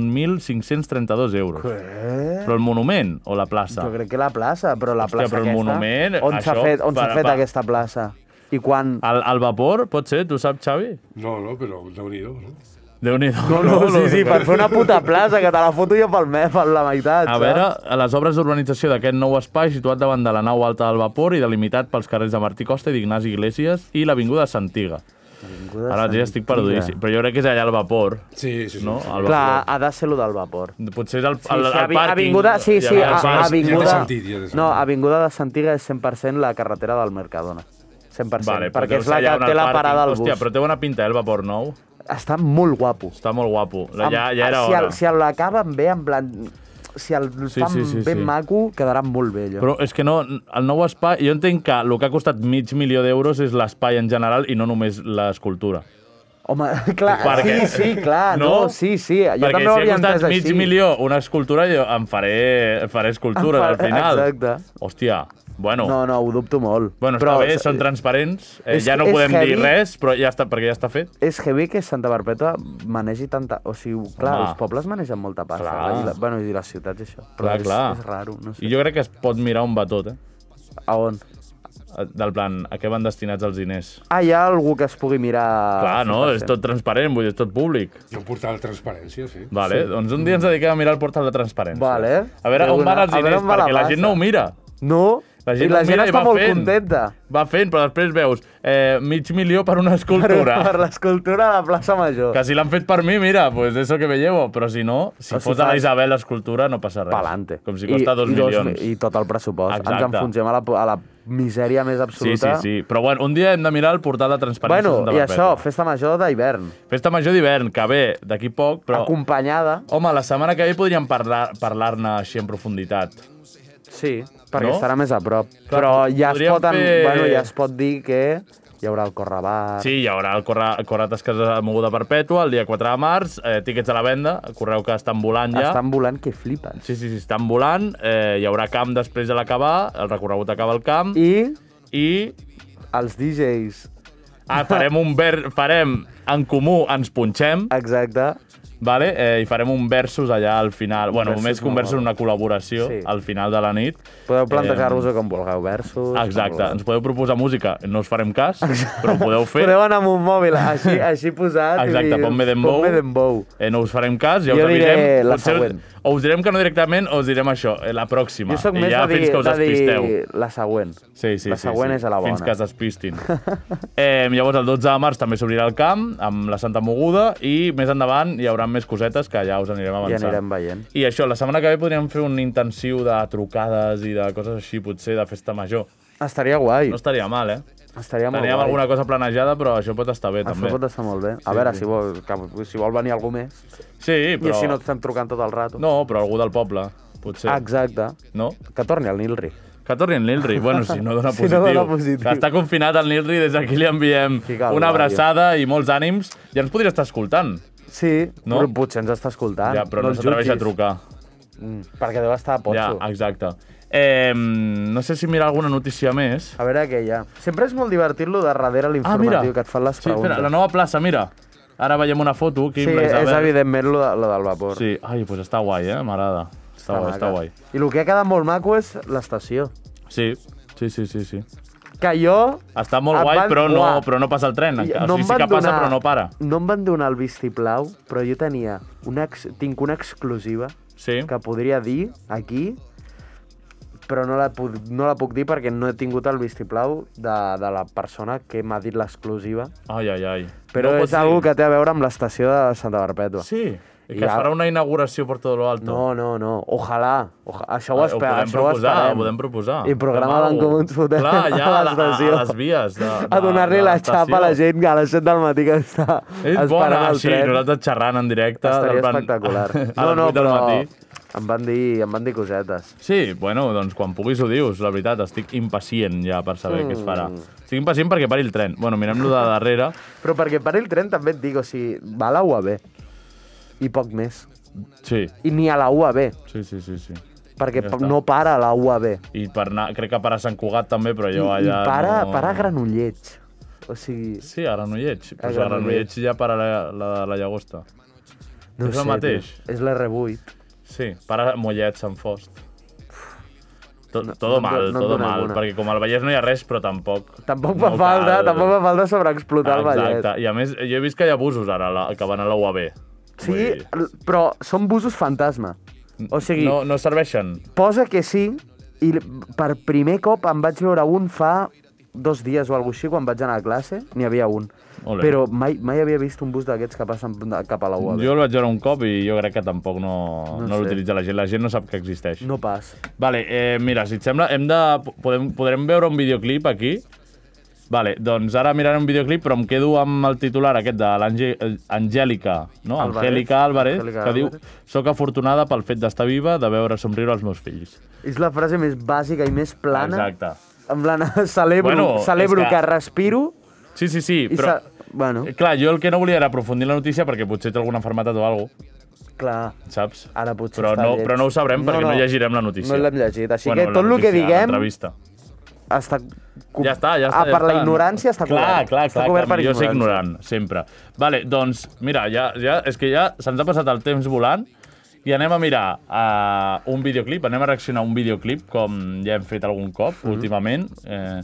Speaker 2: 451.532 euros.
Speaker 3: Eh?
Speaker 2: Però el monument o la plaça?
Speaker 3: Jo crec que la plaça, però la
Speaker 2: Hòstia,
Speaker 3: plaça
Speaker 2: però el
Speaker 3: aquesta...
Speaker 2: monument,
Speaker 3: On s'ha
Speaker 2: això,
Speaker 3: fet, on s'ha
Speaker 2: per- Ah,
Speaker 3: fet
Speaker 2: per-
Speaker 3: aquesta plaça? I quan...
Speaker 2: Al, al vapor, pot ser? Tu saps, Xavi?
Speaker 9: No, no, però déu nhi no?
Speaker 2: Déu-n'hi-do.
Speaker 3: No, no, sí, sí, per fer una puta plaça, que te la foto jo pel me, per la meitat.
Speaker 2: A
Speaker 3: saps?
Speaker 2: veure, a les obres d'urbanització d'aquest nou espai, situat davant de la nau alta del vapor i delimitat pels carrers de Martí Costa i d'Ignasi Iglesias i l'Avinguda Santiga.
Speaker 3: Avinguda
Speaker 2: Ara ja estic perdudíssim, però jo crec que és allà al vapor,
Speaker 9: Sí, sí, sí.
Speaker 2: no? ah. Al
Speaker 3: Clar,
Speaker 2: vapor.
Speaker 3: ha de ser lo del vapor.
Speaker 2: Potser és el,
Speaker 3: Sí,
Speaker 2: el,
Speaker 3: sí,
Speaker 2: el,
Speaker 3: avi-
Speaker 2: pàrquing.
Speaker 3: Avinguda, sí, sí,
Speaker 2: Hi
Speaker 3: a,
Speaker 2: ha
Speaker 9: ja
Speaker 2: persones-
Speaker 9: avi-
Speaker 3: avinguda,
Speaker 9: té sentit, ja té sentit.
Speaker 3: no, avinguda de Santiga és 100% la carretera del Mercadona. 100%,
Speaker 2: Vale, però
Speaker 3: perquè
Speaker 2: deu
Speaker 3: és
Speaker 2: ser
Speaker 3: la
Speaker 2: allà on
Speaker 3: que
Speaker 2: el
Speaker 3: té la
Speaker 2: pàrquing.
Speaker 3: parada del bus.
Speaker 2: Hòstia, però té bona pinta, eh, el vapor nou.
Speaker 3: Està molt guapo.
Speaker 2: Està molt guapo. Ja, ja era
Speaker 3: si,
Speaker 2: hora.
Speaker 3: el, si l'acaba em ve en plan... si el
Speaker 2: Sí,
Speaker 3: fan
Speaker 2: sí, sí,
Speaker 3: ben
Speaker 2: sí.
Speaker 3: maco, quedarà molt bé, allò.
Speaker 2: Però és que no, el nou espai... Jo entenc que el que ha costat mig milió d'euros és l'espai en general i no només l'escultura.
Speaker 3: Home, clar,
Speaker 2: Perquè-
Speaker 3: sí, sí, clar, no?
Speaker 2: No?
Speaker 3: sí, sí, jo
Speaker 2: Perquè
Speaker 3: també ho
Speaker 2: si
Speaker 3: havia
Speaker 2: ha
Speaker 3: entès
Speaker 2: costat mig
Speaker 3: així.
Speaker 2: milió una escultura, jo em faré, faré escultures
Speaker 3: Em
Speaker 2: al
Speaker 3: fa-
Speaker 2: final.
Speaker 3: exacte.
Speaker 2: Hòstia, bueno...
Speaker 3: No, no, ho dubto molt.
Speaker 2: Bueno,
Speaker 3: Però-
Speaker 2: està bé, són transparents, eh,
Speaker 3: És-
Speaker 2: ja no
Speaker 3: és
Speaker 2: podem
Speaker 3: heavy.
Speaker 2: dir res, però ja està, perquè ja està fet.
Speaker 3: És heavy que Santa Barpètua manegi tanta... O sigui, clar,
Speaker 2: Home.
Speaker 3: els pobles manegen molta pasta. eh?
Speaker 2: Clar.
Speaker 3: I, la, bueno, I les ciutats, i això. Però
Speaker 2: Clar,
Speaker 3: és,
Speaker 2: clar.
Speaker 3: és raro, no sé.
Speaker 2: I jo crec que es pot mirar on va tot, eh?
Speaker 3: A on?
Speaker 2: Del plan, a què van destinats els diners.
Speaker 3: Ah, hi ha algú que es pugui mirar...
Speaker 2: Clar, no?
Speaker 3: 100%.
Speaker 2: És tot transparent, vull dir, és tot públic.
Speaker 9: Hi ha un portal de transparència, sí.
Speaker 2: Vale,
Speaker 9: Sí.
Speaker 2: doncs un dia ens dediquem a mirar el portal de transparència. Vale. A veure
Speaker 9: De
Speaker 2: on van
Speaker 9: una-
Speaker 2: els
Speaker 9: a veure
Speaker 2: diners,
Speaker 9: on va la
Speaker 2: perquè la,
Speaker 9: massa.
Speaker 2: gent no ho mira.
Speaker 3: No?
Speaker 2: La gent
Speaker 3: I la
Speaker 2: ho
Speaker 3: gent
Speaker 2: mira
Speaker 3: està
Speaker 2: va
Speaker 3: molt
Speaker 2: fent.
Speaker 3: contenta.
Speaker 2: Va fent, però després veus eh, mig milió per una
Speaker 3: Per,
Speaker 2: escultura.
Speaker 3: per l'escultura de la plaça Major.
Speaker 2: Que si l'han fet per mi, mira, pues de eso que me llevo. Però si no, si
Speaker 3: O
Speaker 2: o
Speaker 3: si
Speaker 2: fos de
Speaker 3: fa-
Speaker 2: la Isabel l'escultura, no passa res. Palante. Com si costa dos
Speaker 3: i
Speaker 2: milions.
Speaker 3: I tot el pressupost.
Speaker 2: Exacte.
Speaker 3: Ens enfonsem a la, a la misèria més
Speaker 2: Sí, sí,
Speaker 3: absoluta.
Speaker 2: sí. Però bueno, un dia hem de mirar el portal de transparència.
Speaker 3: Bueno,
Speaker 2: Santa
Speaker 3: i
Speaker 2: Perpètua.
Speaker 3: això, festa major d'hivern.
Speaker 2: Festa major d'hivern, que ve d'aquí poc, però...
Speaker 3: Acompanyada.
Speaker 2: Home, la setmana que ve podríem parlar- parlar-ne així en profunditat.
Speaker 3: Sí, perquè
Speaker 2: No?
Speaker 3: estarà més a prop.
Speaker 2: Clar,
Speaker 3: Però ja es,
Speaker 2: podríem
Speaker 3: pot, en...
Speaker 2: fer-
Speaker 3: bueno, ja es pot dir que hi haurà el correbar.
Speaker 2: Sí, hi haurà el corra, Corrates que s'ha mogut a perpètua el dia 4 de març, eh, tíquets a la venda, correu que estan volant ja.
Speaker 3: Estan volant que flipen.
Speaker 2: Sí, sí, sí, estan volant, eh, hi haurà camp després de l'acabar, el recorregut acaba al camp.
Speaker 3: I?
Speaker 2: I?
Speaker 3: Els DJs.
Speaker 2: Ah, farem un ver... farem en comú, ens punxem.
Speaker 3: Exacte.
Speaker 2: Vale? Eh, I farem un versus allà al final. Bueno,
Speaker 3: versus
Speaker 2: més que un
Speaker 3: molt
Speaker 2: versus,
Speaker 3: bo.
Speaker 2: una col·laboració
Speaker 3: Sí.
Speaker 2: al final de la nit. Eh,
Speaker 3: Podeu plantejar-vos-ho com vulgueu, versos... com
Speaker 2: Exacte,
Speaker 3: vulgueu.
Speaker 2: ens podeu proposar música, no us farem cas, però ho podeu fer.
Speaker 3: Podeu anar amb un mòbil així, així posat
Speaker 2: Exacte,
Speaker 3: i...
Speaker 2: ponme Dembow.
Speaker 3: Ponme Dembow.
Speaker 2: Eh, no us farem cas, ja
Speaker 3: Jo
Speaker 2: us
Speaker 3: diré
Speaker 2: avisem.
Speaker 3: la
Speaker 2: Potser us-
Speaker 3: següent.
Speaker 2: O us direm que no directament, o us direm això, eh, la pròxima.
Speaker 3: Jo sóc
Speaker 2: I
Speaker 3: més
Speaker 2: ja
Speaker 3: de dir,
Speaker 2: fins que us
Speaker 3: de
Speaker 2: despisteu.
Speaker 3: dir la següent.
Speaker 2: Sí, sí,
Speaker 3: la
Speaker 2: sí,
Speaker 3: següent
Speaker 2: sí.
Speaker 3: és a la bona.
Speaker 2: Fins que es despistin. eh, llavors, el 12 de març també s'obrirà el camp, amb la Santa Moguda, i més endavant hi haurà més cosetes que ja us anirem avançant.
Speaker 3: anirem veient.
Speaker 2: I això, la setmana que ve podríem fer un intensiu de trucades i de coses així, potser, de festa major.
Speaker 3: Estaria guai.
Speaker 2: No estaria mal, eh?
Speaker 3: Estaria molt
Speaker 2: Teníem
Speaker 3: guai.
Speaker 2: alguna cosa planejada, però això pot estar bé, també.
Speaker 3: Això pot estar molt bé. A
Speaker 2: Sí,
Speaker 3: veure,
Speaker 2: sí.
Speaker 3: si vol, que, si vol venir algú més.
Speaker 2: Sí, però...
Speaker 3: I si no et estem trucant tot el rato.
Speaker 2: No, però algú del poble, potser.
Speaker 3: Exacte.
Speaker 2: No?
Speaker 3: Que torni el Nilri.
Speaker 2: Que torni en Nilri. Bueno, si no dona
Speaker 3: Si
Speaker 2: positiu.
Speaker 3: no dona positiu.
Speaker 2: Que Està confinat el Nilri, des d'aquí li enviem
Speaker 3: calvari.
Speaker 2: una abraçada i molts ànims. Ja ens podria estar escoltant.
Speaker 3: Sí,
Speaker 2: No?
Speaker 3: però potser ens està escoltant.
Speaker 2: ja, però no,
Speaker 3: el
Speaker 2: s'atreveix a
Speaker 3: jutgis.
Speaker 2: trucar.
Speaker 3: Mm, perquè deu estar
Speaker 2: Ja,
Speaker 3: a Potso.
Speaker 2: exacte. Eh, no sé si mirar alguna notícia més.
Speaker 3: A veure què hi ha. Sempre és molt divertit lo de darrere
Speaker 2: Ah, mira.
Speaker 3: l'informatiu que et fan les
Speaker 2: Sí,
Speaker 3: preguntes.
Speaker 2: espera, la nova plaça, mira. Ara veiem una foto. Aquí
Speaker 3: Sí,
Speaker 2: amb la
Speaker 3: és
Speaker 2: Isabel.
Speaker 3: evidentment lo, de, lo del vapor.
Speaker 2: Sí, ai, doncs està guai, eh? M'agrada. Està, guai, està
Speaker 3: maca.
Speaker 2: guai.
Speaker 3: I el que ha quedat molt maco és l'estació.
Speaker 2: Sí, sí, sí, sí. sí.
Speaker 3: Que jo...
Speaker 2: Està molt
Speaker 3: Em
Speaker 2: guai,
Speaker 3: van-
Speaker 2: però no,
Speaker 3: Uah.
Speaker 2: però no passa el tren.
Speaker 3: i-
Speaker 2: encara. o sigui,
Speaker 3: em
Speaker 2: sí
Speaker 3: van
Speaker 2: que passa, però no para.
Speaker 3: No em van donar el vistiplau, però jo tenia una ex, tinc una exclusiva
Speaker 2: Sí.
Speaker 3: que podria dir aquí, però no la, puc, no la puc dir perquè no he tingut el vistiplau de, de la persona que m'ha dit l'exclusiva.
Speaker 2: Ai, ai, ai.
Speaker 3: Però
Speaker 2: no ho
Speaker 3: no
Speaker 2: pots
Speaker 3: és algo
Speaker 2: dir.
Speaker 3: que té a veure amb l'estació de Santa Perpètua.
Speaker 2: Sí, i que
Speaker 3: I
Speaker 2: es
Speaker 3: ara-
Speaker 2: farà una inauguració per tot lo alto.
Speaker 3: No, no, no. Ojalà. Oja... Això
Speaker 2: Ah,
Speaker 3: ho,
Speaker 2: ho
Speaker 3: espero,
Speaker 2: podem
Speaker 3: això ho
Speaker 2: proposar,
Speaker 3: esperem.
Speaker 2: ho podem proposar.
Speaker 3: I programa
Speaker 2: Demà
Speaker 3: d'en
Speaker 2: ho-
Speaker 3: Comú ens fotem
Speaker 2: Clar, ja,
Speaker 3: a
Speaker 2: a la-
Speaker 3: l'estació.
Speaker 2: a les vies de-
Speaker 3: a
Speaker 2: de-
Speaker 3: donar-li
Speaker 2: de
Speaker 3: la
Speaker 2: l'estació.
Speaker 3: xapa a la gent que a les 7 del matí que està
Speaker 2: És
Speaker 3: esperant
Speaker 2: bona,
Speaker 3: el
Speaker 2: així,
Speaker 3: tren.
Speaker 2: nosaltres xerrant en directe.
Speaker 3: Estaria
Speaker 2: del plan-
Speaker 3: espectacular.
Speaker 2: A les
Speaker 3: no, no,
Speaker 2: 8 del
Speaker 3: però
Speaker 2: matí.
Speaker 3: em van dir, em van dir cosetes.
Speaker 2: Sí, bueno, doncs quan puguis ho dius, la veritat, estic impacient ja per saber què es farà.
Speaker 3: Mm.
Speaker 2: Estic impacient perquè pari el tren. Bueno, mirem-lo de darrere.
Speaker 3: Però perquè per el tren també et dic, o sigui, va a la UAB. I poc més.
Speaker 2: Sí,
Speaker 3: I ni a la UAB,
Speaker 2: sí, sí, sí. sí.
Speaker 3: perquè
Speaker 2: Ja
Speaker 3: pa-
Speaker 2: està.
Speaker 3: no para a la UAB.
Speaker 2: I per anar, crec que para a Sant Cugat també, però
Speaker 3: I,
Speaker 2: jo
Speaker 3: i
Speaker 2: allà...
Speaker 3: para,
Speaker 2: no...
Speaker 3: para a Granollets. O sigui,
Speaker 2: Sí, a Granollets. Pues a
Speaker 3: Granollers.
Speaker 2: Granollets ja para la, la, de la llagosta.
Speaker 3: no
Speaker 2: és
Speaker 3: sé,
Speaker 2: el mateix.
Speaker 3: tio, és l'R8.
Speaker 2: Sí, para Mollet, Sant Fost. Tot, no,
Speaker 3: no
Speaker 2: todo
Speaker 3: em do-
Speaker 2: mal,
Speaker 3: no em
Speaker 2: todo
Speaker 3: dona
Speaker 2: mal,
Speaker 3: alguna.
Speaker 2: perquè com al Vallès no hi ha res, però tampoc...
Speaker 3: Tampoc fa falta, tampoc fa falta sobreexplotar el Vallès.
Speaker 2: Exacte, i a més, jo he vist que hi ha busos ara, la, que van a la UAB.
Speaker 3: Sí, l- però són busos fantasma. O sigui,
Speaker 2: No, no serveixen.
Speaker 3: posa que sí, i l- per primer cop em vaig veure un fa dos dies o alguna així, quan vaig anar a classe, n'hi havia un.
Speaker 2: Ole.
Speaker 3: Però mai, mai havia vist un bus d'aquests que passen de- cap a la UAB.
Speaker 2: Jo el vaig veure un cop i jo crec que tampoc no, no,
Speaker 3: sé.
Speaker 2: l'utilitza la gent. La gent no sap que existeix.
Speaker 3: No pas.
Speaker 2: Vale, eh, mira, si et sembla, hem de, podem, podrem veure un videoclip aquí? Vale, doncs ara miraré un videoclip, però em quedo amb el titular aquest de l'Angèlica, no?
Speaker 3: Álvarez.
Speaker 2: Angèlica Álvarez,
Speaker 3: Angélica
Speaker 2: que diu
Speaker 3: Álvarez.
Speaker 2: «Soc afortunada pel fet d'estar viva, de veure somriure els meus fills».
Speaker 3: És la frase més bàsica i més plana.
Speaker 2: Exacte.
Speaker 3: En plan, celebro,
Speaker 2: Bueno,
Speaker 3: bueno,
Speaker 2: és
Speaker 3: celebro
Speaker 2: que-
Speaker 3: que... que respiro.
Speaker 2: Sí, sí, sí,
Speaker 3: I
Speaker 2: però... Eh,
Speaker 3: sa- Bueno,
Speaker 2: Clar, jo el que no volia era aprofundir la notícia perquè potser té alguna enfermetat o alguna cosa,
Speaker 3: clar.
Speaker 2: saps?
Speaker 3: Ara potser
Speaker 2: Però
Speaker 3: està
Speaker 2: no,
Speaker 3: lleig.
Speaker 2: però no ho sabrem perquè no, llegirem la notícia.
Speaker 3: No l'hem llegit, així
Speaker 2: Bueno,
Speaker 3: que
Speaker 2: la
Speaker 3: tot el que
Speaker 2: notícia,
Speaker 3: diguem
Speaker 2: l'entrevista.
Speaker 3: està... co-
Speaker 2: Ja està, ja està.
Speaker 3: Ah,
Speaker 2: ja
Speaker 3: per la
Speaker 2: està.
Speaker 3: ignorància està
Speaker 2: clar,
Speaker 3: cobert.
Speaker 2: Clar, clar,
Speaker 3: Està
Speaker 2: clar,
Speaker 3: cobert per
Speaker 2: clar jo soc
Speaker 3: ignorància.
Speaker 2: ignorant, sempre. Vale, doncs, mira, ja, ja, és que ja se'ns ha passat el temps volant i anem a mirar uh, un videoclip, anem a reaccionar a un videoclip, com ja hem fet algun cop mm. últimament. Eh,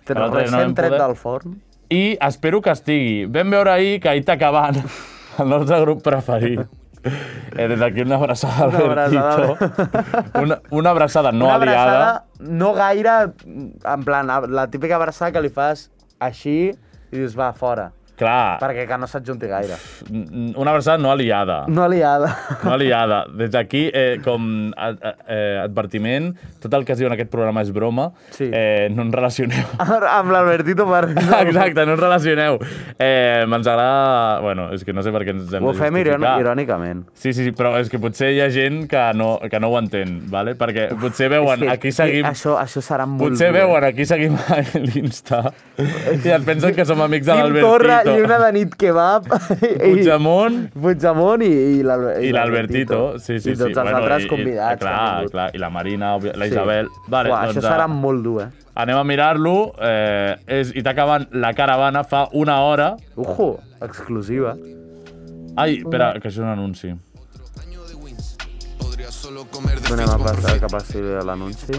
Speaker 2: que
Speaker 3: Tret,
Speaker 2: l'altre dia no vam
Speaker 3: recent tret
Speaker 2: poder.
Speaker 3: del forn.
Speaker 2: I espero que estigui. Vam veure ahir que Aita Caban, el nostre grup preferit, eh, des d'aquí una abraçada al
Speaker 3: Una abraçada.
Speaker 2: Bertito. Una, una abraçada no
Speaker 3: Una
Speaker 2: aliada.
Speaker 3: abraçada no gaire, en plan, la típica abraçada que li fas així i dius, va, fora.
Speaker 2: Clar,
Speaker 3: Perquè que no s'adjunti gaire.
Speaker 2: n- una abraçada no aliada.
Speaker 3: No aliada.
Speaker 2: No liada. Des d'aquí, eh, com a, a, eh, advertiment, tot el que es diu en aquest programa és broma.
Speaker 3: Sí.
Speaker 2: Eh, no ens relacioneu.
Speaker 3: Amb l'Albertito per...
Speaker 2: Exacte, no ens relacioneu. Eh, ens agrada... Bueno, és que no sé per què ens hem
Speaker 3: Ho
Speaker 2: de
Speaker 3: fem irón
Speaker 2: justificar.
Speaker 3: irònicament.
Speaker 2: Sí, sí, sí, però és que potser hi ha gent que no, que no ho entén, ¿vale? perquè potser veuen,
Speaker 3: És que-
Speaker 2: aquí
Speaker 3: és que
Speaker 2: seguim...
Speaker 3: Això, això serà molt...
Speaker 2: Potser
Speaker 3: dur.
Speaker 2: veuen, aquí seguim a l'Insta i et pensen que som amics de
Speaker 3: Quim
Speaker 2: l'Albertito.
Speaker 3: Torra, Lluna de nit kebab... i-
Speaker 2: Puigdemont
Speaker 3: Puigdemont i, i l'Albertito.
Speaker 2: I l'Albertito, sí, sí,
Speaker 3: I tots
Speaker 2: sí.
Speaker 3: els altres
Speaker 2: i- i-
Speaker 3: convidats. que han
Speaker 2: Clar,
Speaker 3: vingut.
Speaker 2: clar, i la Marina, òbvia- la
Speaker 3: Sí.
Speaker 2: Isabel... Vale,
Speaker 3: Uah,
Speaker 2: doncs,
Speaker 3: això serà
Speaker 2: eh,
Speaker 3: molt dur, eh?
Speaker 2: Anem a mirar-lo. Eh, és Itacabant, la caravana, fa una hora.
Speaker 3: Ujo, exclusiva.
Speaker 2: Ai,
Speaker 3: Mm.
Speaker 2: espera, que això és un anunci.
Speaker 3: Donem a passar que passi l'anunci.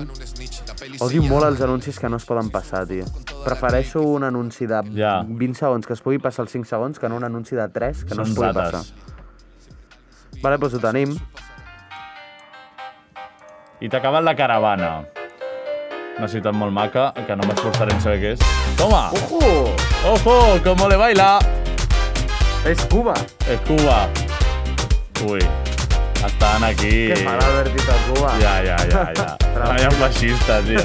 Speaker 3: Odio molt els anuncis que no es poden passar, tio. Prefereixo un anunci de
Speaker 2: Ja.
Speaker 3: 20 segons que es pugui passar els 5 segons que no un anunci de 3 que no es
Speaker 2: Són
Speaker 3: pugui passar.
Speaker 2: rates.
Speaker 3: Vale, doncs ho tenim.
Speaker 2: Itacabant, la caravana. Una ciutat molt maca, que no m'esforçaré en saber què és. Toma!
Speaker 3: Ujo!
Speaker 2: Ojo, como le baila!
Speaker 3: És Cuba!
Speaker 2: És Cuba. Ui, estan aquí.
Speaker 3: Què fa l'Albertito a Cuba?
Speaker 2: Ja, ja, ja, ja. Vaya feixista, tio.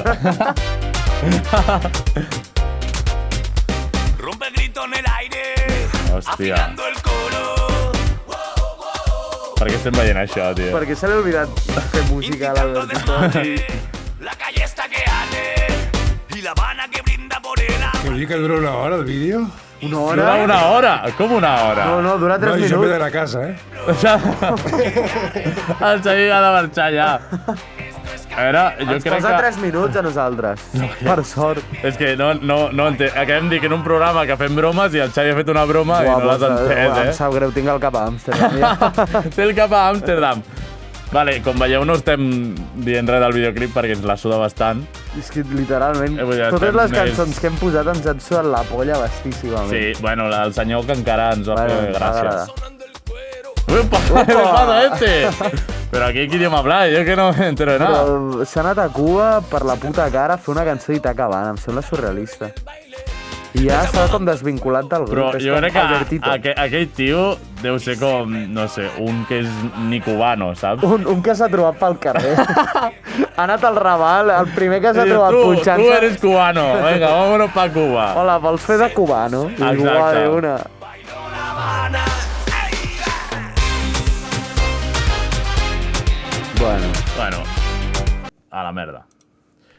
Speaker 7: Rompe grito en el aire,
Speaker 2: Hòstia,
Speaker 7: afinando el coro,
Speaker 2: per què estem veient això, tio?
Speaker 3: Per què se li ha oblidat fer música a
Speaker 7: indicando
Speaker 3: l'Albertito?
Speaker 7: desmadre. La calle está que arde y la Habana que brinda por el agua.
Speaker 9: Que dir que dura una hora el vídeo?
Speaker 3: Una
Speaker 2: Dura
Speaker 3: hora?
Speaker 2: una hora? Com una hora?
Speaker 3: No, no, dura 3
Speaker 9: No, jo me de
Speaker 3: minuts.
Speaker 9: la casa, eh?
Speaker 2: O sigui, el Xavi ha de marxar ja. A veure, jo
Speaker 3: Ens
Speaker 2: crec
Speaker 3: posa
Speaker 2: que...
Speaker 3: 3 minuts a nosaltres. Per sort.
Speaker 2: És que no, no, no entenc. Acabem dient que en un programa que fem bromes i el Xavi ha fet una broma i no
Speaker 3: Guau,
Speaker 2: l'has
Speaker 3: doncs, guau, Em
Speaker 2: entès,
Speaker 3: sap greu, tinc el cap a Amsterdam. Ja.
Speaker 2: eh? Té el cap a Amsterdam. Vale, com veieu no estem dient res del videoclip perquè ens la suda bastant.
Speaker 3: És que literalment,
Speaker 2: Eh, vull dir,
Speaker 3: totes
Speaker 2: estem
Speaker 3: les
Speaker 2: més-
Speaker 3: cançons que hem posat ens han suat la polla bastíssimament.
Speaker 2: Sí, bueno, la del senyor que encara ens va
Speaker 3: Bueno,
Speaker 2: fer
Speaker 3: ens
Speaker 2: gràcia.
Speaker 3: agrada.
Speaker 2: Upa, ¿qué pasa este? Pero aquí qué idioma habla, yo que no me entero de nada.
Speaker 3: Però s'ha anat a Cuba per la puta cara a fer una cançó i t'acabant, em sembla surrealista. I ja s'ha com desvinculat del
Speaker 2: Però
Speaker 3: grup. és
Speaker 2: jo
Speaker 3: com
Speaker 2: crec que
Speaker 3: Albertito.
Speaker 2: aquell, aquell tio deu ser com, no sé, un que és ni cubano, saps?
Speaker 3: Un, un que s'ha trobat pel carrer. ha anat al Raval, el primer que s'ha
Speaker 2: Diu,
Speaker 3: trobat
Speaker 2: tu, tu
Speaker 3: punxant-se.
Speaker 2: eres cubano, venga, vámonos pa Cuba.
Speaker 3: Hola, vols fer de cubano? I diu,
Speaker 2: Exacte.
Speaker 3: "Uah, una. Bueno,
Speaker 2: Bueno, a la merda.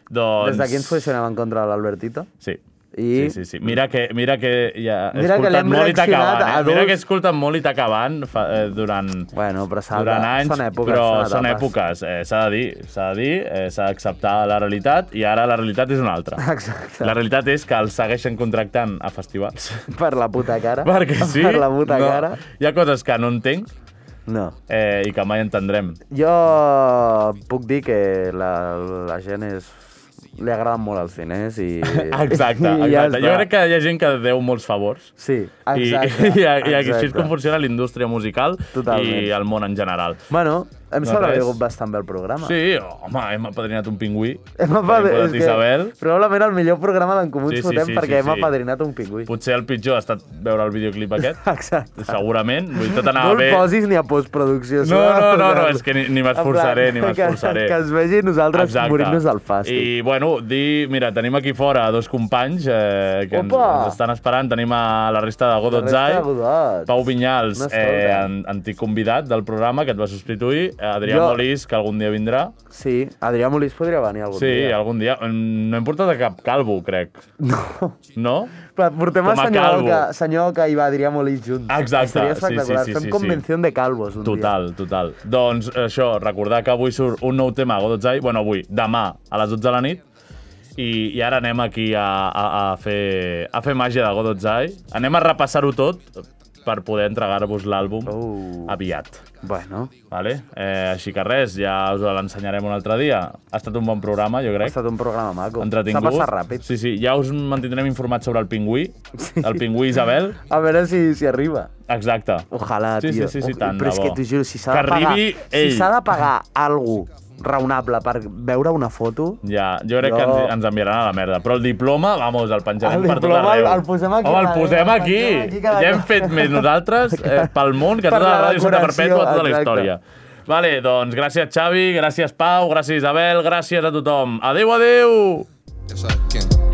Speaker 2: Doncs...
Speaker 3: des d'aquí ens posicionem en contra de l'Albertito.
Speaker 2: Sí.
Speaker 3: I-
Speaker 2: Sí, sí, sí. Mira que, mira que ja
Speaker 3: Mira que l'hem
Speaker 2: escoltat molt i
Speaker 3: reaccionat
Speaker 2: t'acabant,
Speaker 3: a
Speaker 2: eh? Mira
Speaker 3: dos.
Speaker 2: que he escoltat molt i t'acabant fa- eh, durant,
Speaker 3: Bueno, però s'ha de-
Speaker 2: durant anys,
Speaker 3: són èpoques,
Speaker 2: però
Speaker 3: són etapes.
Speaker 2: són èpoques. Eh, s'ha de dir, s'ha de dir, eh, s'ha d'acceptar la realitat i ara la realitat és una altra.
Speaker 3: Exacte.
Speaker 2: La realitat és que els segueixen contractant a festivals.
Speaker 3: Per la puta cara.
Speaker 2: Perquè sí,
Speaker 3: Per la puta
Speaker 2: no,
Speaker 3: cara.
Speaker 2: hi ha coses que no entenc
Speaker 3: No.
Speaker 2: eh, i que mai entendrem.
Speaker 3: Jo puc dir que la, la gent és... Li agraden molt els diners i...
Speaker 2: Exacte,
Speaker 3: i ja
Speaker 2: exacte.
Speaker 3: està.
Speaker 2: jo crec que hi ha gent que deu molts favors.
Speaker 3: Sí,
Speaker 2: I,
Speaker 3: exacte.
Speaker 2: i, i, i així és
Speaker 3: exacte.
Speaker 2: com funciona la indústria musical
Speaker 3: Totalment.
Speaker 2: i el món en general.
Speaker 3: Bueno, Hem
Speaker 2: No,
Speaker 3: sobrevigut
Speaker 2: res.
Speaker 3: bastant bé el programa.
Speaker 2: Doncs- Sí, home, hem apadrinat un pingüí.
Speaker 3: Hem
Speaker 2: Hem
Speaker 3: apadrinat,
Speaker 2: posat Isabel.
Speaker 3: probablement el millor programa d'en Comú
Speaker 2: Sí,
Speaker 3: ens
Speaker 2: sí,
Speaker 3: fotem
Speaker 2: sí,
Speaker 3: perquè
Speaker 2: sí,
Speaker 3: hem
Speaker 2: sí.
Speaker 3: apadrinat un pingüí.
Speaker 2: Potser el pitjor ha estat veure el videoclip aquest.
Speaker 3: Exacte.
Speaker 2: Segurament. Vull dir, tot anava
Speaker 3: no el
Speaker 2: bé.
Speaker 3: posis ni a
Speaker 2: No,
Speaker 3: postproducció. s'ha de
Speaker 2: no, no, no,
Speaker 3: posar-lo.
Speaker 2: és que ni, ni m'esforçaré,
Speaker 3: En plan,
Speaker 2: ni
Speaker 3: que-
Speaker 2: m'esforçaré.
Speaker 3: Que es vegi nosaltres
Speaker 2: Exacte.
Speaker 3: morint-nos del fàstic.
Speaker 2: I, bueno, dir, mira, tenim aquí fora dos companys eh, que ens,
Speaker 3: Opa!
Speaker 2: ens, estan esperant. Tenim a la resta de
Speaker 3: La resta de
Speaker 2: Godotzai,
Speaker 3: godots.
Speaker 2: Pau Vinyals,
Speaker 3: No
Speaker 2: eh,
Speaker 3: escolta.
Speaker 2: an- antic convidat del programa, que et va substituir, Adrià
Speaker 3: Jo-
Speaker 2: Molís, que algun dia vindrà.
Speaker 3: Sí, Adrià Molís podria venir algun
Speaker 2: sí,
Speaker 3: dia.
Speaker 2: algun dia. Mm, No hem portat a cap calvo, crec. No. No?
Speaker 3: Però portem
Speaker 2: Com a
Speaker 3: el senyor
Speaker 2: calvo.
Speaker 3: que, senyor que hi va Adrià Molís junts.
Speaker 2: Exacte,
Speaker 3: Seria
Speaker 2: sí,
Speaker 3: espectacular.
Speaker 2: sí, sí,
Speaker 3: Fem
Speaker 2: sí, sí.
Speaker 3: convenció de calvos un dia.
Speaker 2: Total, total. Doncs això, recordar que avui surt un nou tema a Godotzai, bueno, avui, demà, a les 12 de la nit, i, i ara anem aquí a, a, a, fer, a fer màgia de Godotzai. Anem a repassar-ho tot per poder entregar-vos l'àlbum
Speaker 3: Oh.
Speaker 2: aviat.
Speaker 3: Bueno.
Speaker 2: Vale? Eh, així que res, ja us l'ensenyarem un altre dia. Ha estat un bon programa, jo crec.
Speaker 3: Ha estat un programa maco.
Speaker 2: entretingut.
Speaker 3: S'ha passat ràpid.
Speaker 2: Sí, sí, ja us mantindrem informats sobre el pingüí, el pingüí Isabel.
Speaker 3: A veure si, si arriba.
Speaker 2: Exacte.
Speaker 3: Ojalà,
Speaker 2: Sí,
Speaker 3: tio.
Speaker 2: sí, sí, sí,
Speaker 3: Ojo-
Speaker 2: tant de
Speaker 3: Però és
Speaker 2: bo.
Speaker 3: que t'ho juro, si s'ha
Speaker 2: Que
Speaker 3: de pagar...
Speaker 2: arribi
Speaker 3: Si
Speaker 2: ell.
Speaker 3: s'ha de pagar algú raonable per veure una foto...
Speaker 2: Ja, jo crec
Speaker 3: Jo-
Speaker 2: que ens, ens enviaran a la merda. Però el diploma, vamos, el penjarem
Speaker 3: El
Speaker 2: per tot
Speaker 3: diploma el-
Speaker 2: arreu.
Speaker 3: el posem aquí,
Speaker 2: Home, el
Speaker 3: el-
Speaker 2: posem
Speaker 3: el
Speaker 2: aquí.
Speaker 3: penjarem aquí cada
Speaker 2: ja hem
Speaker 3: cop.
Speaker 2: fet més nosaltres eh, pel món que
Speaker 3: Per
Speaker 2: tota la
Speaker 3: la
Speaker 2: ràdio Santa
Speaker 3: decoració,
Speaker 2: Perpètua, tota la
Speaker 3: exacte.
Speaker 2: història. Vale, doncs gràcies Xavi, gràcies Pau, gràcies Isabel, gràcies a tothom. Adeu, adeu!
Speaker 11: Ya sabes quién.